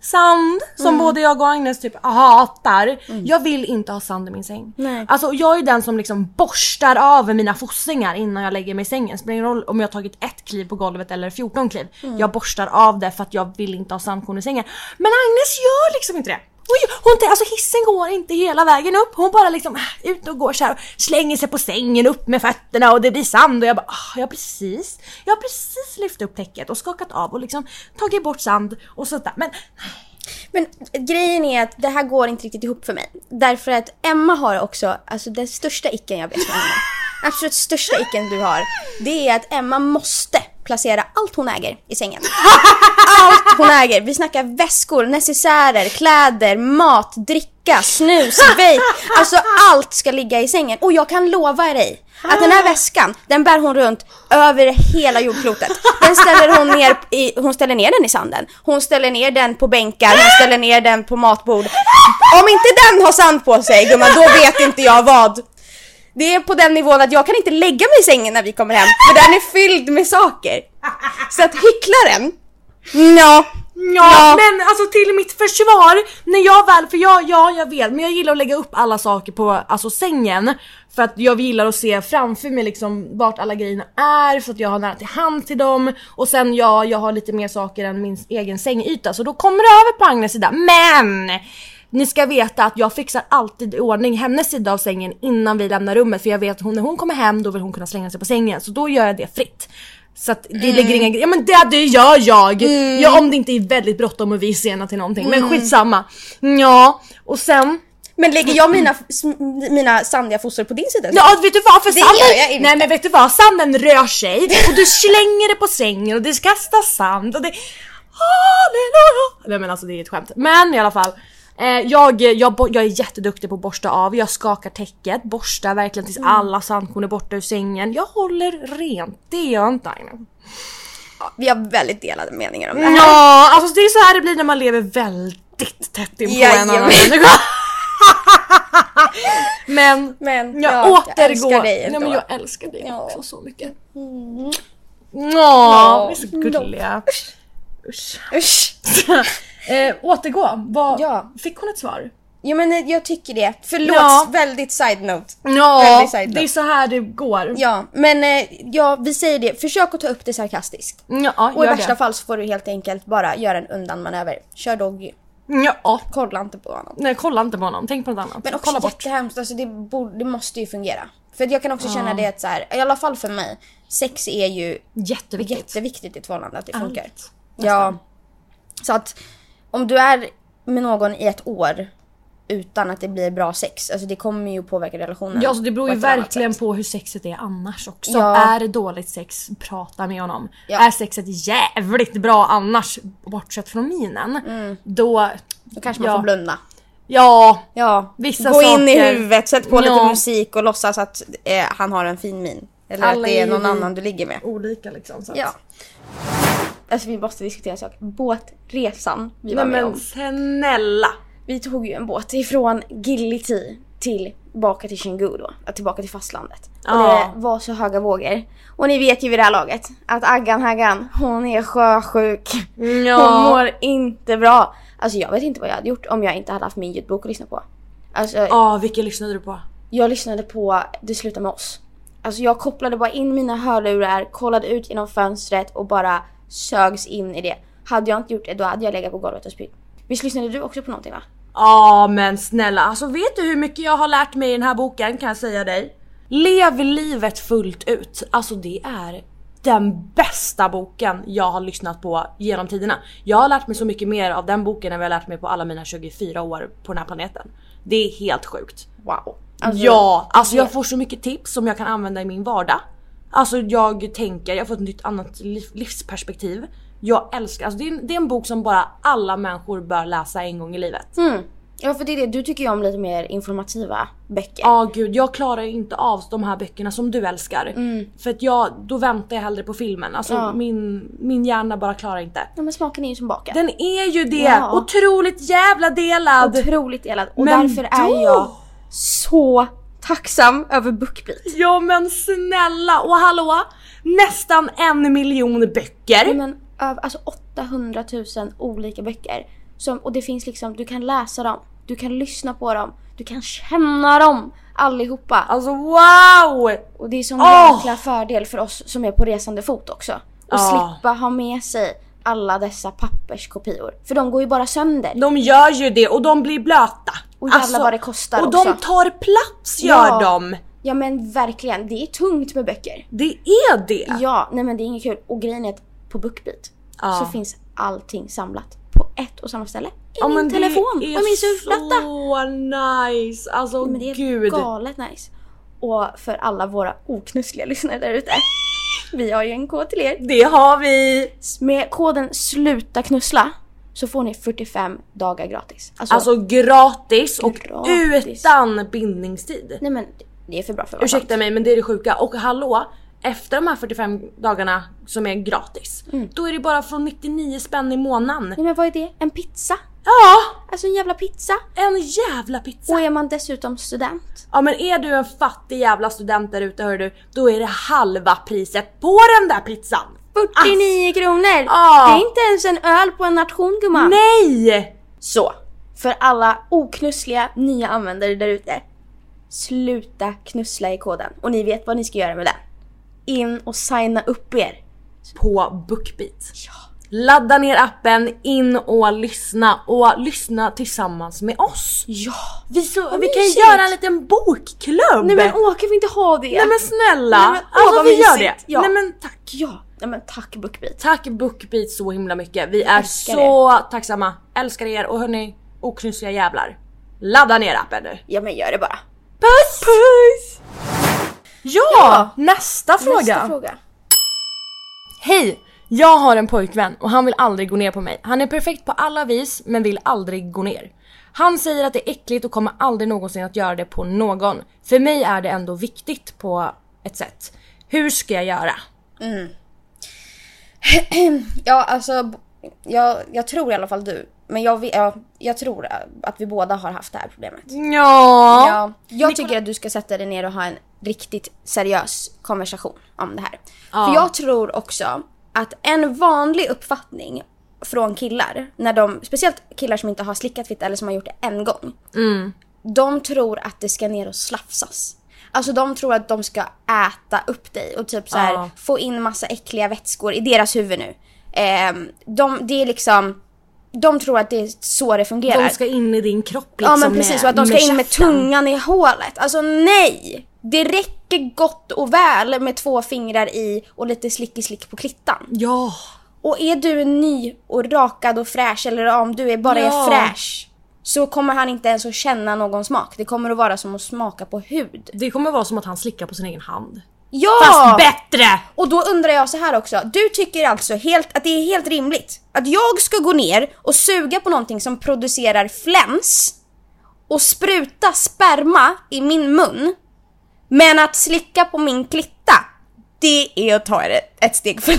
Sand som både jag och Agnes typ hatar. Jag vill inte ha sand i min säng.
Nej.
Alltså jag är den som liksom borstar av mina fossingar innan jag lägger mig i sängen. Spelar ingen roll om jag har tagit ett kliv på golvet eller 14 kliv. Jag borstar av det för att jag vill inte ha sandkorn i sängen. Men Agnes gör liksom inte det. Hon, gör- hon, tänker- alltså hissen går inte hela vägen upp. Hon bara liksom äh, ut och går så här och slänger sig på sängen upp med fötterna och det blir sand och jag bara ah, jag har precis, jag har precis lyft upp täcket och skakat av och liksom tagit bort sand och sånt där. Men
Men grejen är att det här går inte riktigt ihop för mig. Därför att Emma har också, alltså den största icken jag vet med henne. Absolut största icken du har. Det är att Emma måste placera allt hon äger i sängen. Allt hon äger. Vi snackar väskor, necessärer, kläder, mat, dricka, snus, vape. Alltså allt ska ligga i sängen. Och jag kan lova dig att den här väskan, den bär hon runt över hela jordklotet. Den ställer hon ner i, hon ställer ner den i sanden. Hon ställer ner den på bänkar, hon ställer ner den på matbord. Om inte den har sand på sig gumman, då vet inte jag vad. Det är på den nivån att jag kan inte lägga mig i sängen när vi kommer hem, för den är fylld med saker. Så att hycklaren, ja.
Ja, men alltså till mitt försvar, när jag väl, för jag, ja jag vet, men jag gillar att lägga upp alla saker på alltså sängen. För att jag gillar att se framför mig liksom vart alla grejerna är, så att jag har nära till hand till dem. Och sen ja, jag har lite mer saker än min egen sängyta, så då kommer det över på Agnes sida. Men! Ni ska veta att jag fixar alltid i ordning hennes sida av sängen innan vi lämnar rummet för jag vet att hon, när hon kommer hem då vill hon kunna slänga sig på sängen så då gör jag det fritt. Så att det ligger inga Ja men det, det gör jag! Ja, om det inte är väldigt bråttom och vi är sena till någonting men skitsamma. Ja, och sen
Men lägger jag mina, sm- mina sandiga foster på din sida?
Ja vet du vad? För
Det
sanden,
gör jag inte.
Nej men vet du vad? Sanden rör sig och du slänger det på sängen och det kastas sand och det... Halleluja! Nej men alltså det är ett skämt. Men i alla fall. Eh, jag, jag, bo- jag är jätteduktig på att borsta av, jag skakar täcket, borstar verkligen
Mm.
tills alla sandkorn är borta ur sängen. Jag håller rent, det gör jag inte Agnes.
Vi har väldigt delade meningar om det här.
Ja, alltså det är så här det blir när man lever väldigt tätt in på en annan
Jajamän.
människa. Men,
Men,
jag
ja, jag
återgår.
älskar dig
Nej, men
ändå.
jag älskar dig
Ja. Mm.
också så mycket. Ja, vi är så gulliga. Mm. Usch.
Usch.
Eh, återgå, Vad-
Ja.
fick hon ett svar?
Jo men eh, jag tycker det. Förlåt,
Ja.
väldigt side-note.
Ja,
Väldigt side note.
det är så här det går. Ja,
Ja, men eh, ja, vi säger det. Försök att ta upp det sarkastiskt. Och i
gör
värsta
det.
fall så får du helt enkelt bara göra en undanmanöver. Kör doggy.
Ja,
Kolla inte på honom.
nej kolla inte på honom, tänk på något annat.
Men också
kolla bort.
jättehemskt, alltså det, borde, det måste ju fungera. För att jag kan också känna det att så här, i alla fall för mig, sex är ju
Jätteviktigt.
jätteviktigt i ett förhållande att det
Allt,
funkar. Ja. Så att om du är med någon i ett år utan att det blir bra sex, alltså det kommer ju påverka relationen.
Ja, alltså det beror ju
på ett eller annat
verkligen
sätt.
på hur sexet är annars också.
Ja.
Är det dåligt sex, prata med honom.
Ja.
Är sexet jävligt bra annars, bortsett från minen,
Mm.
då...
Då kanske man
ja.
får blunda.
Ja,
Ja,
Vissa
gå in i
saker.
huvudet, sätt på
Ja.
lite musik och låtsas att eh, han har en fin min. Eller
Alla
att det
är
är
ju
någon
vi.
annan du ligger med.
olika liksom. Så att-
Ja. Alltså vi måste diskutera en sak. Båtresan vi var
Nej
med
men
om.
snälla!
Vi tog ju en båt ifrån Gillity tillbaka till Xingu då, äh, tillbaka till fastlandet. Och
Ja.
det var så höga vågor. Och ni vet ju vid det här laget att Aggan Haggan, hon är sjösjuk. Hon
Ja.
mår inte bra. Alltså jag vet inte vad jag hade gjort om jag inte hade haft min ljudbok att lyssna på. Alltså
Ja, vilken lyssnade du på?
jag lyssnade på Det slutar med oss. Alltså jag kopplade bara in mina hörlurar, kollade ut genom fönstret och bara sögs in i det. Hade jag inte gjort det då hade jag legat på golvet och spytt. Visst lyssnade du också på någonting va?
Ja men snälla, alltså vet du hur mycket jag har lärt mig i den här boken kan jag säga dig? Lev livet fullt ut. Alltså det är den bästa boken jag har lyssnat på genom tiderna. Jag har lärt mig så mycket mer av den boken än vad jag har lärt mig på alla mina 24 år på den här planeten. Det är helt sjukt.
Wow.
ja, alltså jag får så mycket tips som jag kan använda i min vardag. Alltså jag tänker, jag får ett nytt annat liv- livsperspektiv. Jag älskar, alltså det är, en, det är en bok som bara alla människor bör läsa en gång i livet.
Mm. Ja för det är det, du tycker ju om lite mer informativa böcker.
Ja gud, jag klarar ju inte av de här böckerna som du älskar. För att jag, då väntar jag hellre på filmen. Alltså
Mm. Ja.
min, min hjärna bara klarar inte.
Ja, men smaken är ju som baken.
Den är ju det!
Ja.
Otroligt jävla delad!
Otroligt delad och
Men
därför är
då-
jag så tacksam över BookBeat.
Ja men snälla! Och hallå! Nästan en miljon böcker!
Men över, alltså 800 000 olika böcker. Som, och det finns liksom, du kan läsa dem, du kan lyssna på dem, du kan känna dem allihopa.
Alltså wow!
Och det är som
Åh!
en jäkla fördel för oss som är på resande fot också. Och
Ja.
slippa ha med sig alla dessa papperskopior. För de går ju bara sönder.
De gör ju det och de blir blöta. Alltså,
Och jävlar vad det kostar
Och de
också.
tar plats gör
Ja.
de!
Ja men verkligen, det är tungt med böcker.
Det är det!
Ja, nej men det är inget kul. Och grejen är att på BookBeat
Ja.
så finns allting samlat på ett och samma ställe. I
Ja,
min
men det
telefon och i
är
min surfplatta.
Så nice! Alltså
Men det är
gud.
galet nice. Och för alla våra oknussliga lyssnare där ute. Vi har ju en kod till er.
Det har vi!
Med koden SLUTA KNUSSLA så får ni 45 dagar gratis. Alltså,
Alltså gratis och
Gratis.
utan bindningstid.
nej men det är för bra för att vara sant.
Ursäkta mig men det är det sjuka. Och hallå! Efter de här 45 dagarna som är gratis,
Mm.
då är det bara från 99 spänn i månaden.
Nej men vad är det? En pizza?
Ja!
Alltså en jävla pizza?
En jävla pizza!
Och är man dessutom student?
Ja men är du en fattig jävla student där ute hör du, då är det halva priset på den där pizzan!
49 kronor!
Ja.
Det är inte ens en öl på en nation gumman!
Ah. Nej!
Så, för alla oknussliga nya användare där ute. Sluta knussla i koden och ni vet vad ni ska göra med den. In och signa upp er.
På BookBeat. Ladda ner appen, in och lyssna och lyssna tillsammans med oss.
Ja!
Vi, så, vi kan
mysigt.
göra en liten bokklubb!
Nej men åh, kan vi inte ha det?
Nej men snälla!
Nej, men, åh,
alltså
vad
vi gör det!
mysigt. Ja.
Nej men tack!
Ja, nej men tack BookBeat.
Tack BookBeat så himla mycket. Vi är
Älskar
så tacksamma. Älskar er och hörni, oknusiga jävlar. Ladda ner appen nu.
Ja men gör det bara.
Puss! Puss! Ja,
Ja.
Nästa, fråga.
Nästa fråga.
Hej! Jag har en pojkvän och han vill aldrig gå ner på mig. Han är perfekt på alla vis men vill aldrig gå ner. Han säger att det är äckligt och kommer aldrig någonsin att göra det på någon. För mig är det ändå viktigt på ett sätt. Hur ska jag göra?
Ja alltså, b- jag, jag tror i alla fall du. Men jag, vet- ja, jag tror att vi båda har haft det här problemet.
Ja.
Ja, jag tycker att du ska sätta dig ner och ha en riktigt seriös konversation om det här. För jag tror också att en vanlig uppfattning från killar, när de, speciellt killar som inte har slickat fitta eller som har gjort det en gång.
Mm.
De tror att det ska ner och slafsas. Alltså de tror att de ska äta upp dig och typ så här,
Ja.
få in massa äckliga vätskor i deras huvud nu. Ehm, de, det är liksom, de tror att det är så det fungerar.
De ska in i din kropp liksom
Ja men precis, och att de ska in med
käften.
tungan i hålet. Alltså nej! Det räcker gott och väl med två fingrar i och lite slicky-slick på klittan.
Ja!
Och är du ny och rakad och fräsch, eller om du är bara
Ja.
är fräsch, så kommer han inte ens att känna någon smak. Det kommer att vara som att smaka på hud.
Det kommer vara som att han slickar på sin egen hand.
Ja!
Fast bättre!
Och då undrar jag så här också. Du tycker alltså helt, att det är helt rimligt att jag ska gå ner och suga på någonting som producerar fläns och spruta sperma i min mun. Men att slicka på min klitta, det är att ta det ett steg för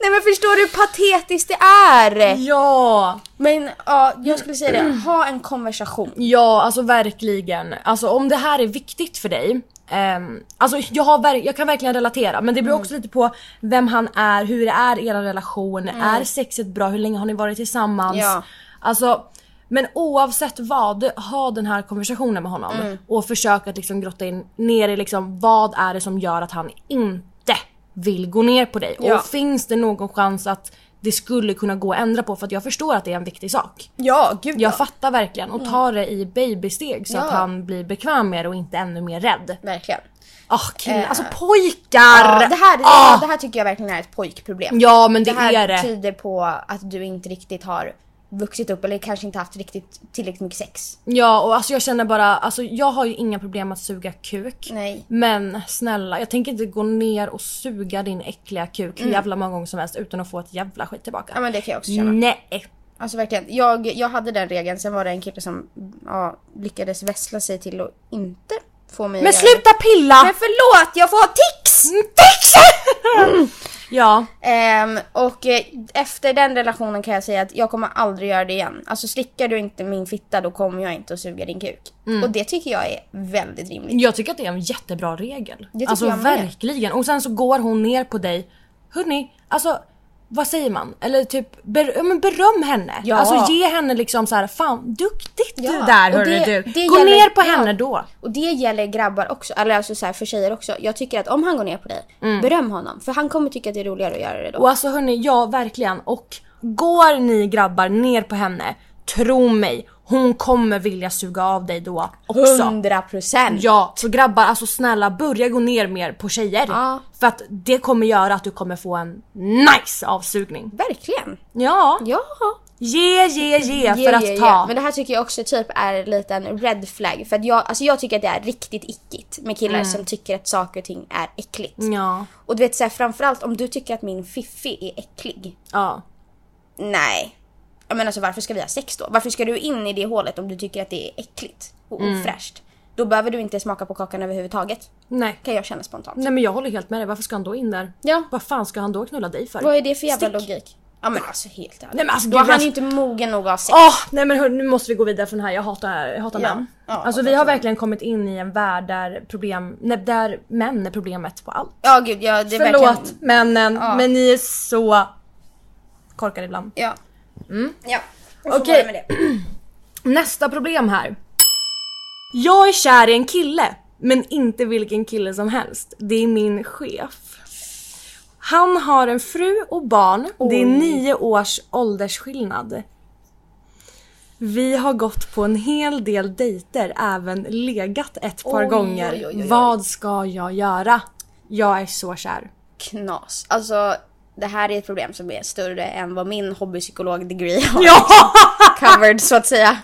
Nej men förstår du hur patetiskt det är?
Ja!
Men ja, jag skulle säga det. Ha en konversation.
Ja, alltså verkligen. Alltså om det här är viktigt för dig. ehm, alltså jag, har verk- jag kan verkligen relatera men det
Mm.
beror också lite på vem han är, hur det är i er relation, är sexet bra, hur länge har ni varit tillsammans?
Mm. Ja.
Alltså, men oavsett vad, ha den här konversationen med honom
Mm.
och försök att liksom grotta in, ner i liksom, vad är det som gör att han inte vill gå ner på dig.
Ja.
Och finns det någon chans att det skulle kunna gå att ändra på för att jag förstår att det är en viktig sak.
Ja, gud
Jag
ja.
fattar verkligen och tar det i babysteg så
Ja.
att han blir bekväm med det och inte ännu mer rädd.
Verkligen.
Ah killar,
Eh.
alltså pojkar!
Ja, det, här, det,
Ah!
det här tycker jag verkligen är ett pojkproblem.
Ja, men det,
det här typ-
är det.
tyder på att du inte riktigt har vuxit upp eller kanske inte haft riktigt tillräckligt mycket sex.
Ja och alltså jag känner bara, alltså jag har ju inga problem att suga kuk.
Nej.
Men snälla, jag tänker inte gå ner och suga din äckliga kuk hur jävla många gånger som helst utan att få ett jävla skit tillbaka.
Mm. Ja men det kan jag också känna.
Mm. Nej!
Alltså verkligen. Jag, jag hade den regeln, sen var det en kille som ja, lyckades vässla sig till att inte få mig att
Men
göra
sluta Mm,
det.
pilla!
Men förlåt, jag får ha tics!
Ja,
Ehm, och eh, efter den relationen kan jag säga att jag kommer aldrig göra det igen. Alltså slickar du inte min fitta då kommer jag inte att suga din kuk.
Mm.
Och det tycker jag är väldigt rimligt.
jag tycker att det är en jättebra regel.
tycker
Alltså
jag med.
verkligen. Och sen så går hon ner på dig. Hörni, alltså vad säger man? Eller typ ber- ja, men beröm henne.
Ja.
Alltså ge henne liksom så här, fan duktigt
Ja,
du där
och
hörru
det-
du.
det
gå
gäller-
ner på
ja.
henne då.
Och det gäller grabbar också, eller alltså så här för tjejer också. Jag tycker att om han går ner på dig, beröm honom. För han kommer tycka att det är roligare att göra det då.
Mm. Och alltså hörni, ja verkligen. Och går ni grabbar ner på henne, tro mig, hon kommer vilja suga av dig då också.
100%!
Ja, så grabbar alltså snälla börja gå ner mer på tjejer.
Ja.
För att det kommer göra att du kommer få en nice avsugning.
Verkligen!
Ja,
Ja!
ge, ge, ge för
Ja,
att
ja, ja.
ta.
Men det här tycker jag också typ är lite en red flag. För att jag, alltså jag tycker att det är riktigt ickigt med
Mm.
killar som tycker att saker och ting är äckligt.
Ja,
Och du vet så här, framförallt om du tycker att min fiffi är äcklig.
ja.
Nej. Ja, Men alltså varför ska vi ha sex då? Varför ska du in i det hålet om du tycker att det är äckligt och
Mm.
ofräscht? Då behöver du inte smaka på kakan överhuvudtaget.
Nej.
Kan jag känna spontant.
Nej men jag håller helt med dig, varför ska han då in där?
Ja.
Vad fan ska han då knulla dig för?
Vad är det för jävla
Stick.
logik? Ja men alltså helt ärligt.
Nej, men alltså,
då
gud,
är han
alltså-
ju inte mogen nog att ha sex.
Åh, nej men hör, nu måste vi gå vidare från det här, jag hatar, jag hatar
Ja.
män.
Ja,
alltså vi har verkligen kommit in i en värld där, problem, nej, där män är problemet på allt.
Ja gud, ja, det är
Förlåt
verkligen...
männen, men ni är så korkade ibland.
Ja. Ja. Och så
Okej.
var det med det.
Nästa problem här. Jag är kär i en kille, men inte vilken kille som helst. Det är min chef. Han har en fru och barn. Det är nio års åldersskillnad. Vi har gått på en hel del dejter, även legat ett par
Oj,
gånger.
oj, oj, oj.
Vad ska jag göra? Jag är så kär.
knas. Alltså det här är ett problem som är större än vad min hobbypsykolog-degree har
Ja!
covered så att säga.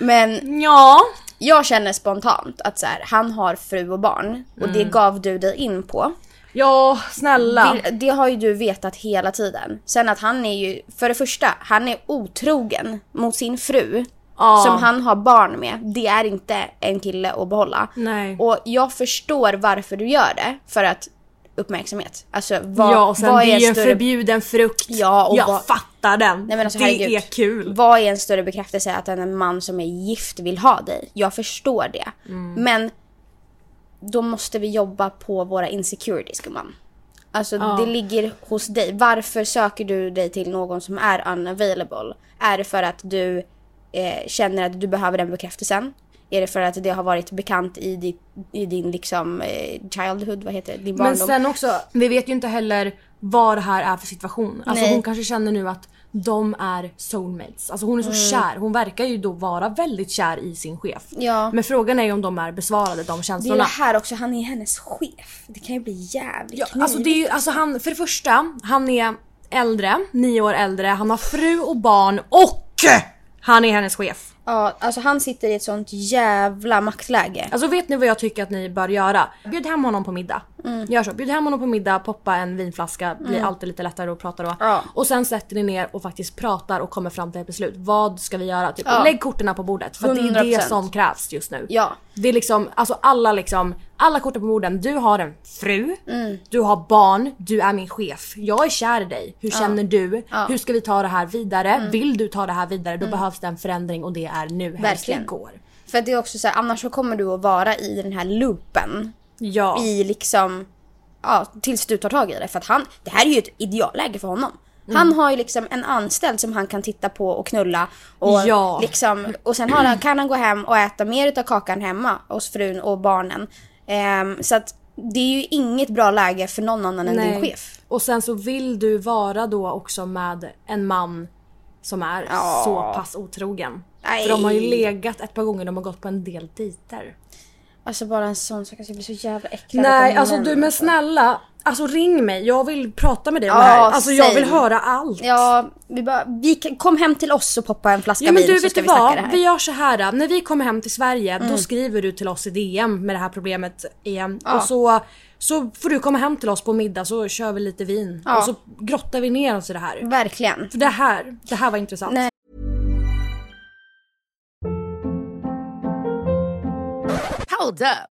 Men
Ja.
jag känner spontant att så här, han har fru och barn och det gav du dig in på.
Ja, snälla.
Det, det har ju du vetat hela tiden. Sen att han är ju, för det första, han är otrogen mot sin fru.
Ja.
Som han har barn med. Det är inte en kille att behålla.
Nej.
Och jag förstår varför du gör det. För att uppmärksamhet. Alltså vad,
ja, och sen
vad
det är
är
ju
en
en
större
förbjuden frukt.
Ja, och
jag
vad-
fattar den.
Nej, men alltså,
det
herregud.
är kul.
Vad är en större bekräftelse att en man som är gift vill ha dig? Jag förstår det.
Mm.
Men då måste vi jobba på våra insecurities gumman. Alltså det ligger hos dig. Varför söker du dig till någon som är unavailable? Är det för att du eh, känner att du behöver den bekräftelsen? Är det för att det har varit bekant i, ditt, i din liksom eh, childhood, vad heter det? Din barndom?
Men sen också, vi vet ju inte heller vad det här är för situation. Alltså
Nej.
hon kanske känner nu att de är soulmates. Alltså hon är så kär. Hon verkar ju då vara väldigt kär i sin chef.
Mm. Ja.
Men frågan är ju om de är besvarade, de
det är ju det
känslorna.
här också, han är hennes chef. Det kan ju bli jävligt
Ja, alltså det är ju, alltså han, för det första, han är äldre, nio år äldre, han har fru och barn och han är hennes chef.
Ja, alltså han sitter i ett sånt jävla maktläge.
Alltså vet ni vad jag tycker att ni bör göra? Bjud hem honom på middag.
Mm.
Gör så. Bjud hem honom på middag, poppa en vinflaska, blir alltid lite lättare att prata då.
Ja.
Och sen sätter ni ner och faktiskt pratar och kommer fram till ett beslut. Vad ska vi göra? Typ, Lägg korten på bordet för det är det
100%.
som krävs just nu.
Ja.
Det är liksom, alltså alla liksom, alla korten på bordet. Du har en fru,
Mm.
du har barn, du är min chef. Jag är kär i dig. Hur känner du? Hur ska vi ta det här vidare?
Mm.
Vill du ta det här vidare? Då behövs det en förändring och det är nu. Helst
Verkligen.
igår.
För det är också så här, annars så kommer du att vara i den här loopen.
Ja.
I liksom, ja, tills du tar tag i det. För att han, det här är ju ett idealläge för honom.
Mm.
Han har ju liksom en anställd som han kan titta på och knulla. Och,
Ja.
liksom, och sen har han, kan han gå hem och äta mer utav kakan hemma hos frun och barnen. Ehm, så att det är ju inget bra läge för någon annan än din chef.
Och sen så vill du vara då också med en man som är så pass otrogen.
Nej.
För de har ju legat ett par gånger, de har gått på en del dejter.
Alltså bara en sån sak, alltså jag blir så jävla äcklad av
Nej,
män,
alltså du men
alltså.
snälla. Alltså ring mig, jag vill prata med dig om
Ja,
det här. Alltså jag
säg.
vill höra allt.
Ja, vi bara, vi kan, kom hem till oss och poppa en flaska
Ja men
vin
du
så
vet
ska
du
vi snacka
vad?
det här. Mm.
Vi gör så här. äh, När vi kommer hem till Sverige då skriver du till oss i DM med det här problemet igen. Och så, så får du komma hem till oss på middag så kör vi lite vin. Och så grottar vi ner oss i det här.
Verkligen.
För det här, det här var intressant.
Nej.
Hold up.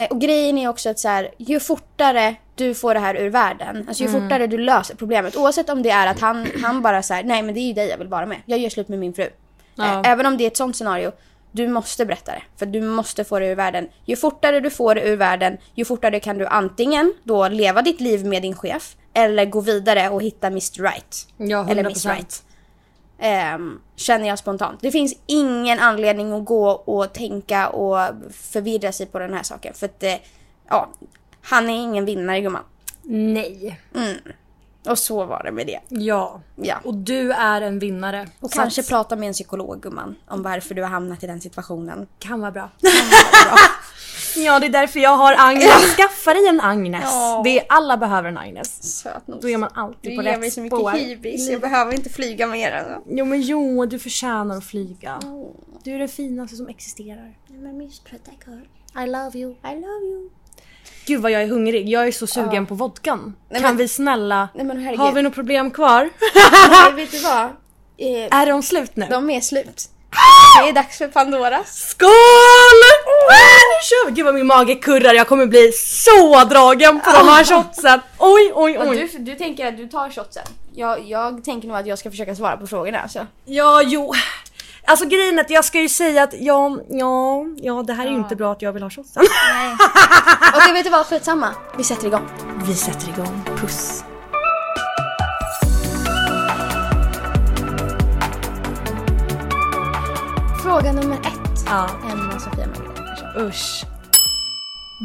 Eh, Och grejen är också att så här, ju fortare du får det här ur världen, alltså
Mm.
ju fortare du löser problemet, oavsett om det är att han, han bara så här, nej men det är ju dig jag vill vara med, jag gör slut med min fru. Eh, Även om det är ett sånt scenario, du måste berätta det. För du måste få det ur världen. Ju fortare du får det ur världen, ju fortare kan du antingen då leva ditt liv med din chef, eller gå vidare och hitta Mr Right.
Ja, 100%.
Eller Miss Right. Ehm, känner jag spontant. Det finns ingen anledning att gå och tänka och förvirra sig på den här saken. För att, eh, ja, han är ingen vinnare gumman.
Nej.
Och så var det med det.
Ja.
Ja.
Och du är en vinnare.
Och
Så att-
kanske prata med en psykolog gumman om varför du har hamnat i den situationen.
Kan vara bra. ja det är därför jag har Agnes. Skaffa dig en Agnes.
Ja.
Det är, alla behöver en Agnes.
Sötnos.
Då är man alltid på rätt spår.
hybris, jag behöver inte flyga mer. Alltså.
Jo men jo, du förtjänar att flyga. Du är det finaste som existerar. I love you.
I love you.
Gud vad jag är hungrig. Jag är så sugen på vodkan.
Nej,
kan
men-
vi snälla...
Nej, men herregud.
har vi något problem kvar?
Nej, vet du vad? Eh,
är de slut nu? Ah!
de är slut. Det är dags för Pandoras.
Skål! Ah, nu kör vi! Gud vad min mage kurrar. Jag kommer bli så dragen på de här shotsen. Oj, oj,
Och
oj.
du, du tänker att du tar shotsen? Jag, jag tänker nog att jag ska försöka svara på frågorna. Alltså.
Ja, jo. Alltså grejen är att jag ska ju säga att ja, ja, ja det här är ju inte bra att jag vill ha shotsen.
Okej, vet du vad? Skitsamma. Vi sätter igång.
Vi sätter igång. Puss.
Fråga nummer ett.
Ja.
Emma Sofia Margareta Persson.
Usch.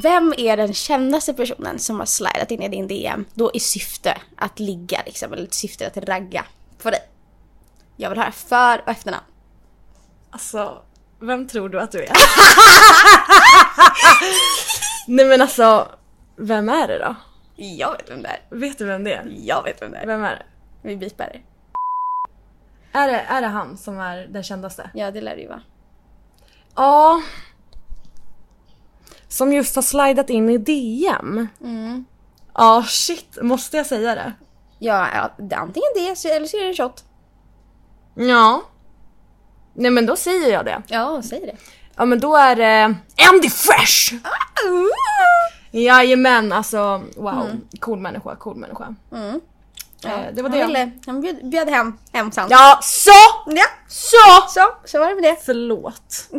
Vem är den kändaste personen som har slidat in i din DM då i syfte att ligga liksom, eller i syfte att ragga på dig? Jag vill höra för och efternamn.
Alltså, vem tror du att du är? Nej men alltså, vem är det då?
Jag vet vem det är.
Vet du vem det är?
Jag vet vem det är.
Vem är det?
Vi beepar det.
Är det, är det han som är den kändaste?
Ja, det lär det ju vara.
Ja. Som just har slidat in i DM.
Mm.
Ja, shit. Måste jag säga det?
Ja, ja, det är antingen det så- eller så är det en shot.
Ja. Nej men då säger jag det.
Ja, säg det.
Ja men då är det Andy Fresh! Jajamän alltså wow, cool människa, cool människa. Eh, det var
Mm. Han,
det.
ville, han bjöd, bjöd hem hemsan.
Ja, så!
ja!
Så!
Så, så var det med det.
Förlåt.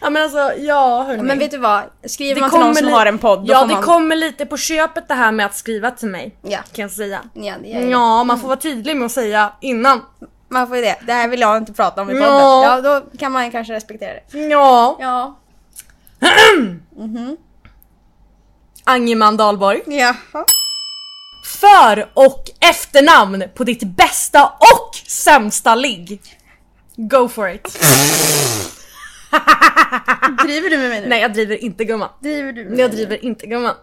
ja men alltså, ja hörni.
Men vet du vad? Skriver man till någon som
li-
har en podd då
Ja
får
det
man...
kommer lite på köpet det här med att skriva till mig.
Ja.
Kan jag säga.
Ja, det gör det.
Ja, man får vara tydlig med att säga innan.
Man får ju det. Det här vill jag inte prata om i podden.
Ja.
Ja, då kan man kanske respektera det.
Ja.
Ja.
Angeman Dahlborg.
Jaha.
För och efternamn på ditt bästa och sämsta ligg. Go for it.
Driver du med mig nu?
Nej jag driver inte gumman.
Driver du med
Jag
mig?
driver inte gumman.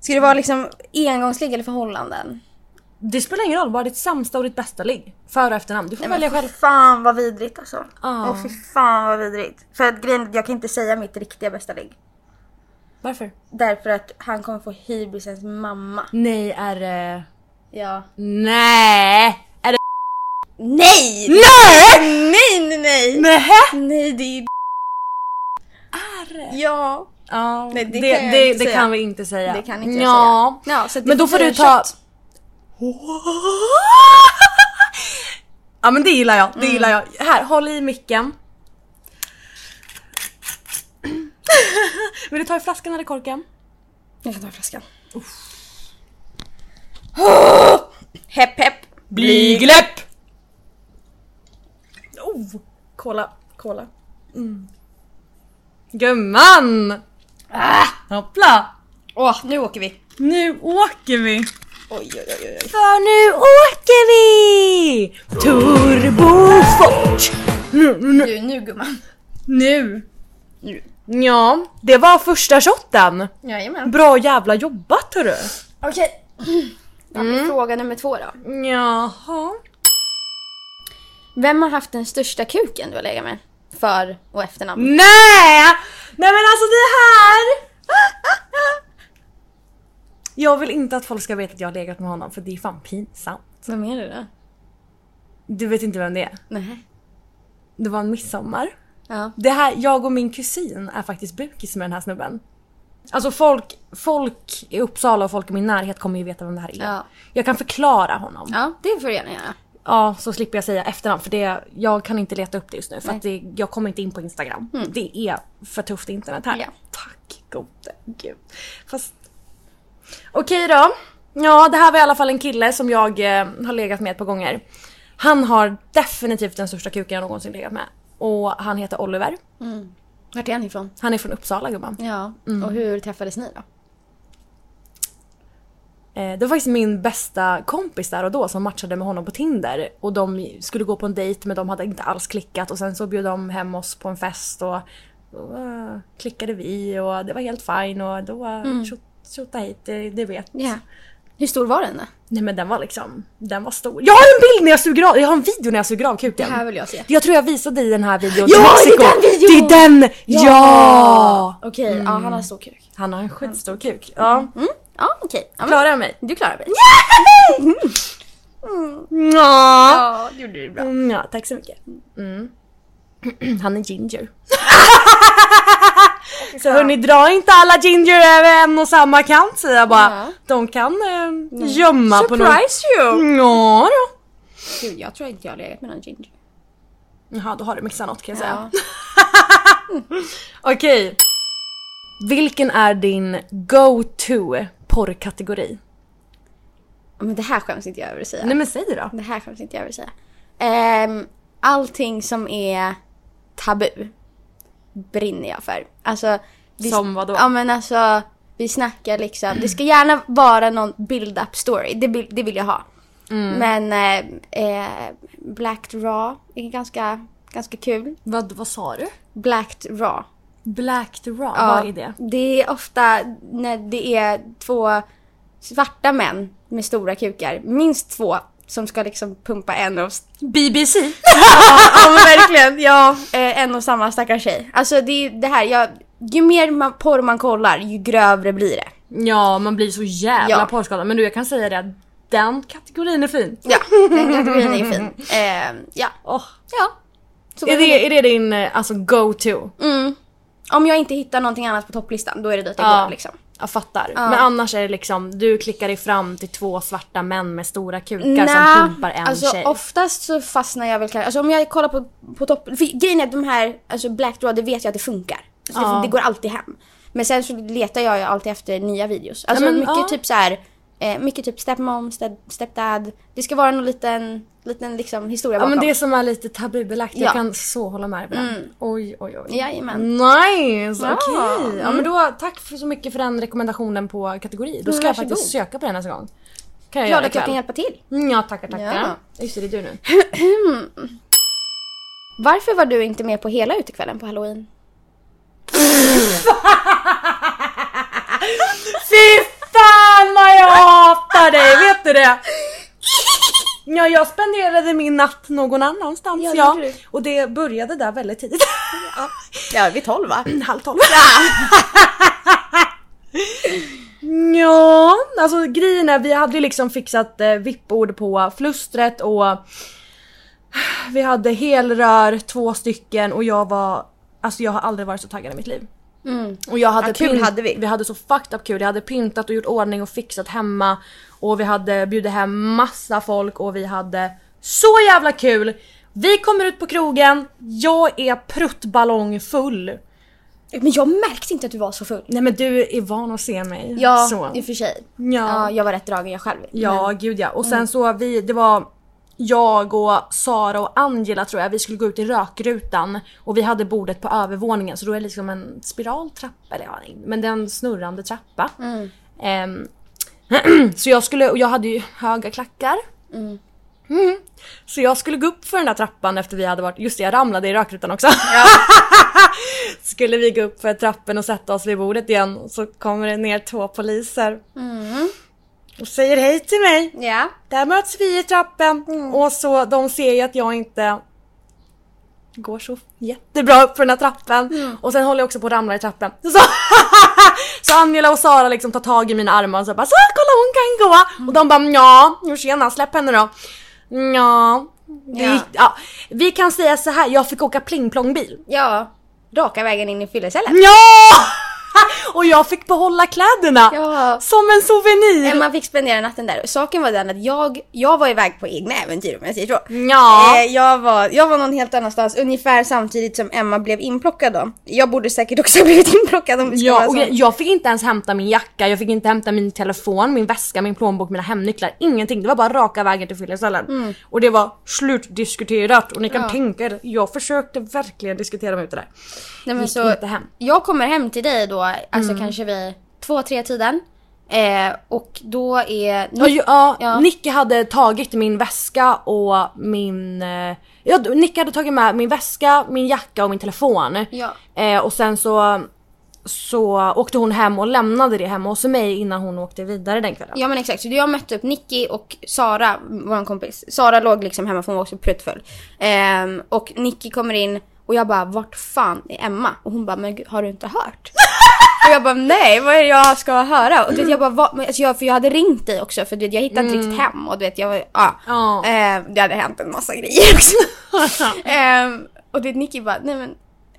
Ska det vara liksom engångsligg eller förhållanden?
Det spelar ingen roll, bara ditt sämsta och ditt bästa ligg. Före och efternamn, du får välja själv.
fan vad vidrigt alltså.
Ja.
Åh fy fan vad vidrigt. För att grejen är att jag kan inte säga mitt riktiga bästa ligg.
Varför?
Därför att han kommer få hybrisens mamma.
Nej, är det...
Ja.
Nej! Är det...
Nej!
Nej!
Nej nej nej!
Nähä?
Nej det är
Är
Ja.
Ja,
Nej, det
det,
kan jag
det,
inte
det
säga.
kan vi inte säga.
Det kan inte jag
ja.
säga. Ja, så att det
men då
får bli
får du
en
ta...
shot.
ja men det gillar jag, det gillar jag.
Mm.
Här, håll i micken. Vill du ta i flaskan eller korken?
Jag kan ta flaskan. Oh! Hepp hepp.
Blygläpp! Oh! Kola, kola. Mm. Gumman! Ah, hoppla!
Åh, nu åker vi.
Nu åker vi!
Oj oj oj oj. oj.
För nu åker vi! Turbofort!
Du nu gumman.
Nu! Ja, det var första shotten.
Jajamän.
Bra jävla jobbat hörru!
Okej. Mm. Fråga nummer två då.
Jaha.
Vem har haft den största kuken du har legat med? För och efternamn.
Nej! Nej men alltså det här! Jag vill inte att folk ska veta att jag har legat med honom för det är fan pinsamt.
Vem är det då?
Du vet inte vem det är?
Nej.
Det var en midsommar.
Ja.
Det här, jag och min kusin är faktiskt bukis med den här snubben. Alltså folk, folk i Uppsala och folk i min närhet kommer ju veta vem det här är.
Ja.
Jag kan förklara honom.
Ja, det får du gärna göra.
Ja, så slipper jag säga efternamn för det, jag kan inte leta upp det just nu för att det, jag kommer inte in på Instagram. Det är för tufft internet här.
Ja.
Tack gode gud. Fast... Okej då. Ja, det här var i alla fall en kille som jag eh, har legat med ett par gånger. Han har definitivt den största kuken jag någonsin legat med. Och han heter Oliver.
Vart är han ifrån? Mm.
Han är från Uppsala gumman.
Ja, och hur träffades ni då?
Eh, Det var faktiskt min bästa kompis där och då som matchade med honom på Tinder. Och de skulle gå på en dejt men de hade inte alls klickat och sen så bjöd de hem oss på en fest och, och eh, klickade vi och det var helt fine och då mm. tjota hit, det, det vet.
Ja. Hur stor var den då?
Nej men den var liksom, den var stor. Jag har en bild när jag suger av, jag har en video när jag suger av kuken.
Det här vill jag se.
Jag tror jag visade dig den här videon
Ja,
till
det är
Mexiko.
den videon!
Det är den! Ja!
Okej, ja han har stor kuk.
Han har en skitstor kuk. Ja.
Mm. Ja okej. Ja, men
Klarar jag mig?
Du klarar dig.
Ja.
Ja, det gjorde du bra.
Mm, ja, tack så mycket. Mm. Han är ginger. så hörni, dra inte alla ginger över en och samma kant säger jag bara.
Ja.
De kan eh, gömma på något...
Surprise you!
Ja, då.
Gud, jag tror inte jag har legat med någon ginger.
Jaha, då har du mixat något kan jag säga.
Ja.
Okej. Vilken är din go-to porrkategori?
Men det här skäms inte jag över att säga.
Nej men säg det då.
Det här skäms inte jag över att säga. Ehm, allting som är tabu brinner jag för. Alltså, vi,
Som vadå?
Ja men alltså, vi snackar liksom. Det ska gärna vara någon build-up story. Det, vill- det vill jag ha.
Mm.
Men eh, eh, Black Raw är ganska, ganska kul.
Vad, vad sa du?
Black Raw.
Black the raw,
Ja,
vad är det?
Det är ofta när det är två svarta män med stora kukar. Minst två som ska liksom pumpa en av
BBC?
Ja men verkligen, ja. Eh, en och samma stackars tjej. Alltså det är ju det här, jag, ju mer man, porr man kollar ju grövre blir det.
Ja, man blir så jävla
Ja.
porrskadad. Men du, jag kan säga det att den kategorin är fin.
Ja, den kategorin är ju fin. Eh, ja.
Åh.
ja. Så
Är, det, är det din eh, alltså, go-to?
mm. Om jag inte hittar någonting annat på topplistan då är det dit jag
Ja.
går liksom.
Jag fattar. Men annars är det liksom, du klickar dig fram till två svarta män med stora kukar som pumpar en
alltså
tjej.
oftast så fastnar jag väl kanske, alltså om jag kollar på, på topp, för grejen är att de här, alltså Black Draw, det vet jag att det funkar. Alltså det, det går alltid hem. Men sen så letar jag ju alltid efter nya videos. Alltså
Ja, men,
mycket
ja.
typ så här, eh, mycket typ stepmom, step, stepdad. Det ska vara någon liten, liten liksom historia
Ja
bakom.
men det som är lite tabubelagt,
Ja.
jag kan så hålla med dig mm. Oj oj oj.
Jajamän.
Nice!
Ja.
Okej! Ja Mm. men då, tack för så mycket för den rekommendationen på kategori. Då ska jag
varsågod.
faktiskt söka på den nästa gång. Kan jag
Glad
göra
att jag kan
ikväll?
hjälpa till.
Mm, Ja tackar tackar.
Ja.
Just det, det är du nu.
Varför var du inte med på hela utekvällen på halloween?
Fy fan vad jag hatar dig, vet du det? Ja, jag spenderade min natt någon annanstans ja.
gjorde du.
Och det började där väldigt tidigt.
Ja, vid tolv va?
Halv tolv. Ja, alltså grejen är vi hade ju liksom fixat eh, vippord på flustret och vi hade helrör, två stycken och jag var, alltså jag har aldrig varit så taggad i mitt liv. Och jag hade
Ja, kul
pynt-
hade vi.
Vi hade så fucked up kul. Jag hade pyntat och gjort ordning och fixat hemma och vi hade bjudit hem massa folk och vi hade så jävla kul. Vi kommer ut på krogen, jag är pruttballongfull.
Men jag märkte inte att du var så full.
Nej men du är van att se mig.
Ja,
så.
i och för sig.
Ja.
jag var rätt dragen jag själv.
Ja, gud ja. Och sen så vi, det var jag och Sara och Angela tror jag, vi skulle gå ut i rökrutan och vi hade bordet på övervåningen så då är det liksom en spiraltrappa eller ja, men det är en snurrande trappa. Ehm, så jag skulle, och jag hade ju höga klackar. Mm. Så jag skulle gå upp för den där trappan efter vi hade varit, just det jag ramlade i rökrutan också. skulle vi gå upp för trappen och sätta oss vid bordet igen och så kommer det ner två poliser. Och säger hej till mig.
Men, ja.
Där möts vi i trappen
Mm.
och så de ser ju att jag inte går så jättebra upp för den här trappen.
Mm.
Och sen håller jag också på att ramla i trappen. Så, så Angela och Sara liksom tar tag i mina armar och så bara så kolla hon kan gå! Och de bara ja, jo tjena släpp henne då. Ja. Det
Ja.
gick, ja. Vi kan säga så här, jag fick åka plingplongbil.
ja. Raka vägen in i fyllecellen.
Ja! Och jag fick behålla kläderna!
Ja.
Som en souvenir!
Men Man fick spendera natten där. Saken var den att jag, jag var iväg på egna äventyr om jag säger så.
Ja.
Eh, jag, var, jag var någon helt annanstans ungefär samtidigt som Emma blev inplockad då. Jag borde säkert också ha blivit inplockad om vi ska
Ja,
vara
och
så.
jag, jag fick inte ens hämta min jacka, jag fick inte hämta min telefon, min väska, min plånbok, mina hemnycklar. Ingenting. Det var bara raka vägen till fyllecellen.
Mm.
Och det var slutdiskuterat och ni kan tänka er, jag försökte verkligen diskutera mig ut ur det där.
Nej,
gick inte hem. Mm.
Jag kommer hem till dig då, alltså kanske vid två, tre tiden. Eh, och då är...
Ja, ju- ja,
Ja.
Nicke hade tagit min väska och min... eh, Ja, Nicke hade tagit med min väska, min jacka och min telefon.
Ja.
Eh, och sen så, så åkte hon hem och lämnade det hemma hos mig innan hon åkte vidare den kvällen.
Ja men exakt, så jag mötte upp Nicky och Sara, vår kompis. Sara låg liksom hemma för hon var också pruttfull. Ehm, och Nicky kommer in och jag bara vart fan är Emma? Och hon bara men gud, har du inte hört? och jag bara nej vad är det jag ska höra? Och du vet, jag bara "Va?" men, alltså, jag, för jag hade ringt dig också för du vet, jag hittade inte riktigt hem och du vet jag var ja.
Mm. Ja.
Ehm, det hade hänt en massa grejer också. Ehm, och du vet Nicky bara nej men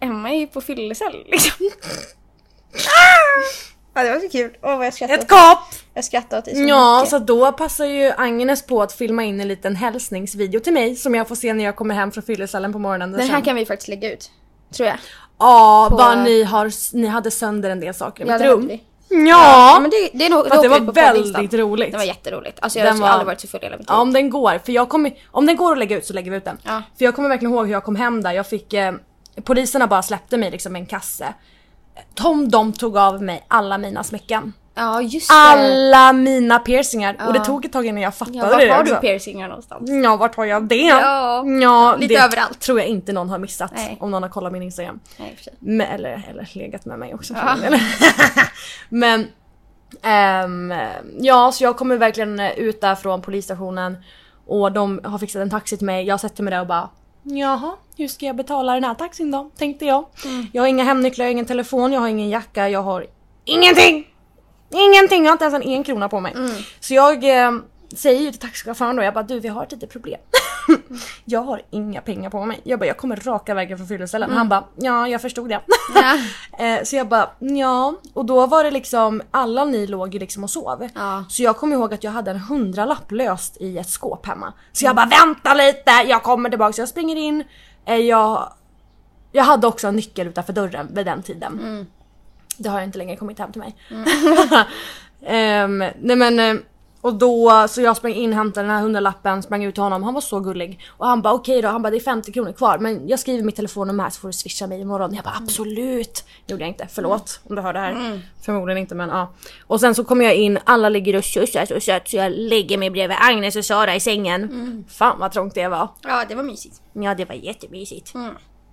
Emma är ju på fyllecell liksom. Ah! ja det var så kul, åh vad jag skrattade.
Ett kap!
Jag skrattade åt dig så
Ja,
mycket.
så då passar ju Agnes på att filma in en liten hälsningsvideo till mig som jag får se när jag kommer hem från fyllecellen på morgonen.
Den här
sen.
kan vi faktiskt lägga ut. Tror jag.
Ja,
på-
vad ni, har, ni hade sönder en del saker i
Ja,
mitt
det hade
rum.
vi.
Ja,
Ja, men det, det, är nog,
Fast det
åker ut
var
på poddlistan.
väldigt roligt.
Det var jätteroligt. Alltså jag
Den
har
var-
aldrig varit så full i hela mitt
Ja,
liv.
om den går. För jag kommer, om den går att lägga ut så lägger vi ut den.
Ja.
För jag kommer verkligen ihåg hur jag kom hem där. Jag fick, eh, poliserna bara släppte mig liksom med en kasse. Tom de tog av mig alla mina smycken.
Ja just det.
Alla mina piercingar. Och det tog ett tag innan jag fattade
Ja, var
det.
har du
också. Mm.
piercingar någonstans?
Ja, vart har jag det?
Ja, lite
det
överallt.
tror jag inte någon har missat
Nej.
om någon har kollat min Instagram.
Nej, i och för sig.
Men, eller, eller legat med mig också. för den delen. Men ehm, ja, så jag kommer verkligen ut där från polisstationen och de har fixat en taxi till mig. Jag sätter mig där och bara Jaha, hur ska jag betala den här taxin då? Tänkte jag.
Mm.
Jag har inga hemnycklar, jag har ingen telefon, jag har ingen jacka, jag har ingenting! Ingenting, jag har inte ens en, en krona på
Mm.
mig. Så jag eh, säger ju till taxichauffören då, jag bara du vi har ett litet problem. jag har inga pengar på mig. Jag bara jag kommer raka vägen från fyllecellen. Han bara ja jag förstod det. eh, så jag bara ja och då var det liksom alla ni låg ju liksom och sov.
Ja.
Så jag kommer ihåg att jag hade en hundralapp löst i ett skåp hemma. Så jag bara vänta lite, jag kommer tillbaka. Så jag springer in. Eh, jag, jag hade också en nyckel utanför dörren vid den tiden. Det har jag inte längre kommit hem till mig. Ehm, nej men, eh, och då så jag sprang in, hämtade den här hundralappen, sprang ut till honom. Han var så gullig. Och han bara okej då, han bara det är 50 kronor kvar men jag skriver mitt telefonnummer här så får du swisha mig imorgon. Jag bara absolut! Gjorde jag inte, förlåt om du hör det här. Förmodligen inte men ja. Och sen så kommer jag in, alla ligger och tjusar så sött så jag lägger mig bredvid Agnes och Sara i sängen. Fan vad trångt det var.
Ja det var mysigt.
Ja det var jättemysigt.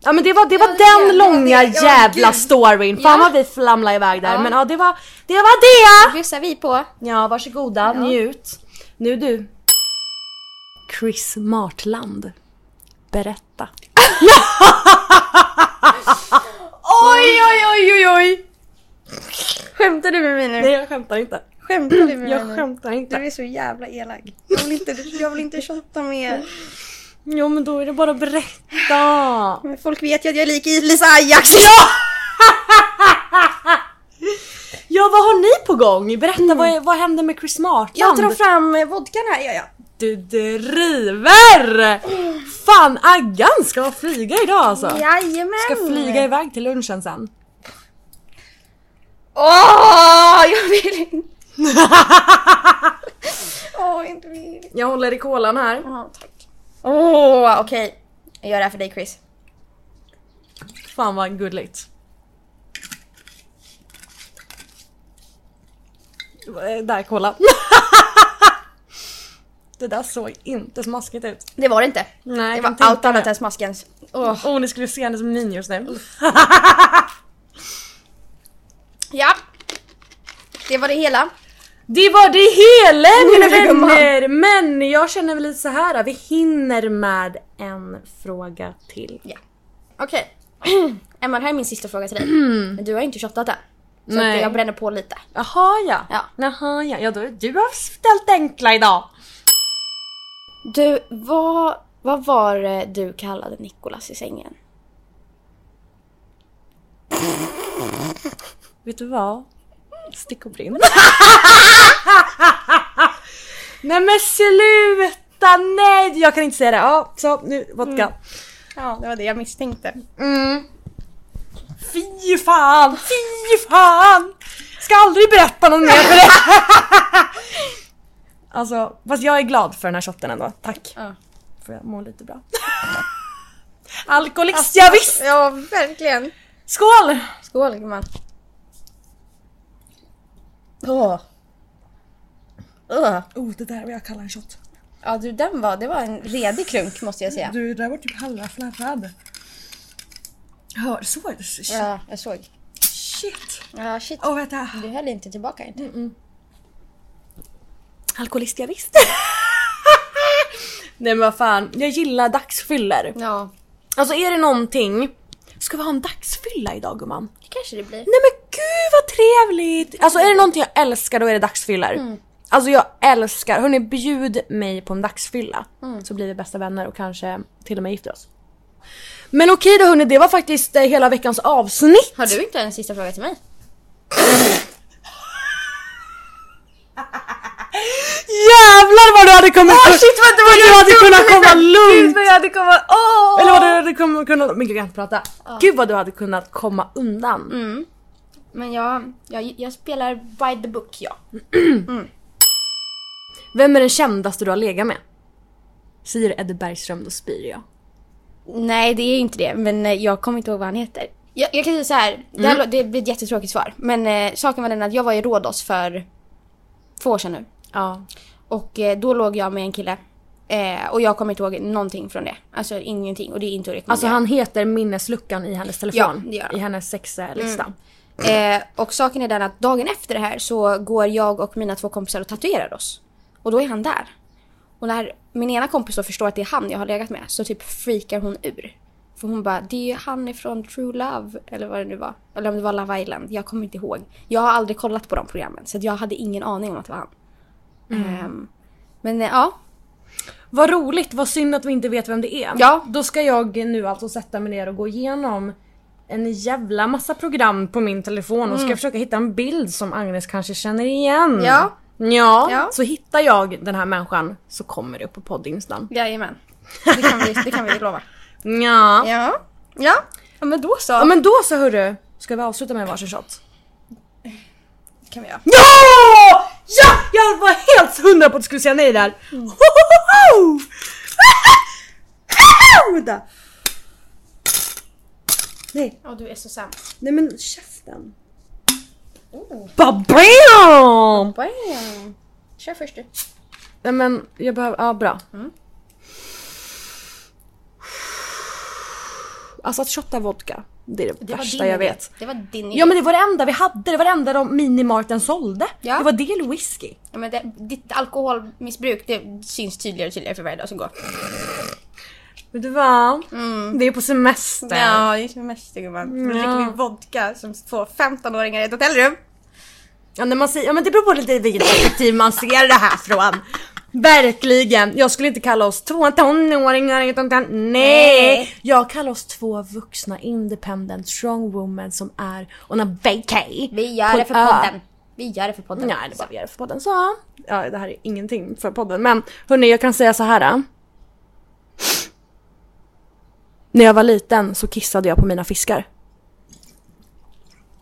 Ja men det var, det var
Mm. det
den
var det.
långa
Ja,
jävla
gud.
storyn. Fan
Ja.
vad vi flamlade iväg där.
Ja.
Men ja det var det. Var det.
Bjussar vi på.
Ja varsågoda, njut. Nu du. Chris Martland. Berätta.
Oj, oj, oj, oj, oj! Skämtar du med mig nu?
Nej jag skämtar inte.
Skämtar du med mig
Jag
nu?
skämtar
Du
inte.
är så jävla elak. Jag vill inte, jag vill inte tjata mer.
Jo men då är det bara att berätta.
Men folk vet ju att jag är lik Lisa Ajax.
Ja vad har ni på gång? Berätta vad, vad hände med Chris Martland?
Mm. Jag drar fram eh, vodkan här gör jag.
Du driver! Fan Aggan ska flyga idag alltså.
Jajamän!
Ska flyga iväg till lunchen sen.
Åh, jag vill inte. Åh, inte vill.
Jag håller i kolan här.
Ja, tack. Åh, okej. Jag gör det här för dig Chris.
Fan vad gulligt. Eh, Där, kolla. Det där såg inte smaskigt ut.
Det var det inte.
Nej,
det
jag
var
kan tänka
allt annat
mig.
än smaskens.
Åh, Oh, ni skulle se hennes min just nu.
Ja. Det var det hela.
Det var det hela
Nu är det
mina vänner! Men jag känner väl lite så här. vi hinner med en fråga till.
Okej. Emma, det här är min sista fråga till dig. Men du har ju inte tjatat än. Så
Nej.
Att jag bränner på lite.
Jaha ja.
Ja.
Jaha ja. ja då, du har ställt enkla idag.
Du, vad, vad var det du kallade Nikolas i sängen?
Vet du vad? Stick och brinn. nej men sluta! Nej! Jag kan inte säga det. Ja, så nu vodka.
Ja, det var det jag misstänkte.
Fy fan! Fy fan! Ska aldrig berätta något mer för det. alltså, fast jag är glad för den här shotten ändå. Tack.
Ja.
För jag mår lite bra. Alkoholist, ja, visst!
Ja, verkligen.
Skål!
Skål gumman. Åh. Åh.
Oh, det där vill jag kalla en shot.
Ja du den var, det var en redig klunk måste jag säga.
Du, det där var typ halva fladdrande. Hörsår?
Ja, jag såg.
Shit!
Ja shit.
Åh vänta.
Du höll inte tillbaka inte.
Alkoholist, jag visst. Nej men vad fan, jag gillar dagsfyller.
Ja,
Alltså är det någonting... Ska vi ha en dagsfylla idag gumman?
det kanske det blir.
Nej men gud vad trevligt! Alltså är det någonting jag älskar då är det dagsfyllor.
Mm.
Alltså jag älskar, hörni bjud mig på en dagsfylla.
Mm.
Så blir vi bästa vänner och kanske till och med gifter oss. Men okej då hörni, det var faktiskt eh, hela veckans avsnitt.
Har du inte en sista fråga till mig?
Jävlar vad du hade kommit... Åh
Ah, shit, vad det var
du hade kunnat komma lugnt!
jag hade kommit... Åh!
Eller vad du hade kunnat... kunnat men gud, jag kan inte prata. Gud vad du hade kunnat komma undan.
Mm. Men jag, jag, jag spelar by the book ja.
Vem är den kändaste du har legat med? Säger Eddie Bergström då spyr jag.
Nej det är ju inte det men eh, jag kommer inte ihåg vad han heter. Mm. Jag, jag kan säga så här, det, här, lå- det blir ett jättetråkigt svar. Men eh, saken var den att jag var i Rhodos för två år sedan nu.
Ja.
Och eh, då låg jag med en kille. Eh, och jag kommer inte ihåg någonting från det. Alltså ingenting. Och det är inte att rekommendera.
Alltså han heter minnesluckan i hennes telefon.
Ja, det gör han.
I hennes sexlista.
Eh, och saken är den att dagen efter det här så går jag och mina två kompisar och tatuerar oss. Och då är han där. Och när min ena kompis då förstår att det är han jag har legat med så typ freakar hon ur. För hon bara, det är ju han ifrån True Love eller vad det nu var. Eller om det var Love Island, jag kommer inte ihåg. Jag har aldrig kollat på de programmen så att jag hade ingen aning om att det var han. Ehm, men eh, ja,
Vad roligt, vad synd att vi inte vet vem det är.
Ja.
Då ska jag nu alltså sätta mig ner och gå igenom en jävla massa program på min telefon och ska försöka hitta en bild som Agnes kanske känner igen.
Mm. Ja.
Ja,
Ja.
så hittar jag den här människan så kommer det upp på poddinstan.
jajamän. Det kan vi, det kan vi lova.
Ja. ja.
Ja. Ja. ja, men då så.
men då så hörru, ska vi avsluta med varsin shot?
kan vi göra.
Ja! Ja! Jag var helt hundra på att du skulle säga nej där. Hohoho! Vänta.
Ja, du är så sämst. Oh.
Nej men käften. Babam!
Bam. Kör först du.
Nej men
Mm.
jag behöver, ja bra. Alltså att shotta vodka. Det är det,
Det var
värsta
din
jag
idé.
vet.
Det var din idé.
Ja men det var det enda vi hade, det var det enda de minimarten sålde.
Ja.
Det var del whisky.
Ja, men det, ditt alkoholmissbruk det syns tydligare och tydligare för varje dag som går.
Vet du vad? Mm. Det är på semester.
Ja, det är semester gumman. Då dricker vi vodka som två 15-åringar i ett hotellrum.
Ja, när man säger, ja men det beror på lite vilket perspektiv man ser det här från. Verkligen! Jag skulle inte kalla oss två tonåringar utan tan- nej! Jag kallar oss två vuxna independent strong women som är on a vacay.
Vi gör
på
det
en
för
ö.
podden. Vi gör det för podden.
Nej, det är bara vi gör det för podden så. Ja, det här är ingenting för podden men hörni jag kan säga så här. äh. När jag var liten så kissade jag på mina fiskar.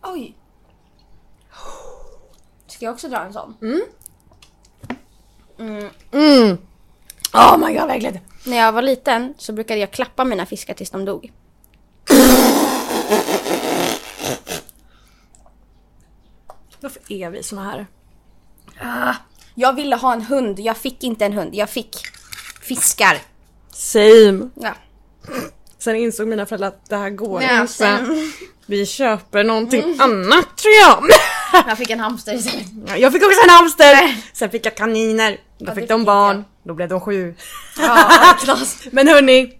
Oj. Ska jag också dra en sån?
Oh my god, verkligen!
När jag var liten så brukade jag klappa mina fiskar tills de dog.
Varför är vi såna här?
Ah. Jag ville ha en hund, jag fick inte en hund. Jag fick fiskar.
Same!
Ja.
Sen insåg mina föräldrar att det här går
Ja, Mm.
inte. Vi köper någonting annat tror jag.
Jag fick en hamster istället.
jag fick också en hamster. Sen fick jag kaniner. Då
det
fick de
fick
barn.
jag.
Då blev de sju.
Ja, knas.
Men hörni.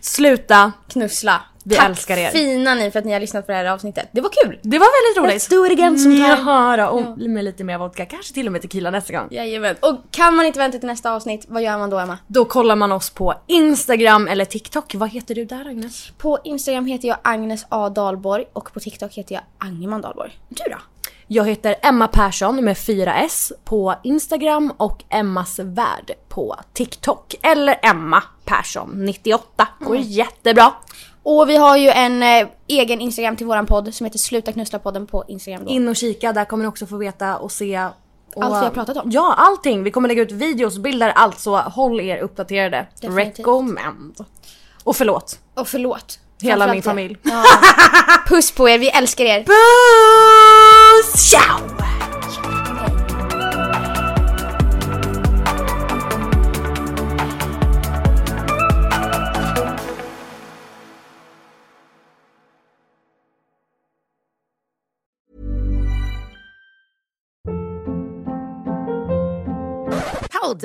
Sluta.
Knussla.
Vi
Tack
älskar er.
fina ni för att ni har lyssnat på det här avsnittet. Det var kul!
Det var väldigt roligt.
Let's do it again sometime.
Jaha, och med lite mer vodka. Kanske till och med tequila nästa gång.
Jajamän. Och kan man inte vänta till nästa avsnitt, vad gör man då Emma?
Då kollar man oss på Instagram eller TikTok. Vad heter du där Agnes?
På Instagram heter jag Agnes A Dahlborg och på TikTok heter jag Angeman Dahlborg. Du då?
Jag heter Emma Persson med 4S på Instagram och Emmas värld på TikTok. Eller Emma Persson 98. Går jättebra.
Och vi har ju en eh, egen Instagram till våran podd som heter Sluta knussla podden på Instagram då.
In och kika, där kommer ni också få veta och se. Och,
Allt vi har pratat om.
Ja, allting. Vi kommer lägga ut videos, bilder, allt så håll er uppdaterade.
Definitivt.
Recommend. Och förlåt,
och förlåt.
hela
Framförallt
min
det.
familj.
Puss på er, vi älskar er!
Puss! Ciao!
Hold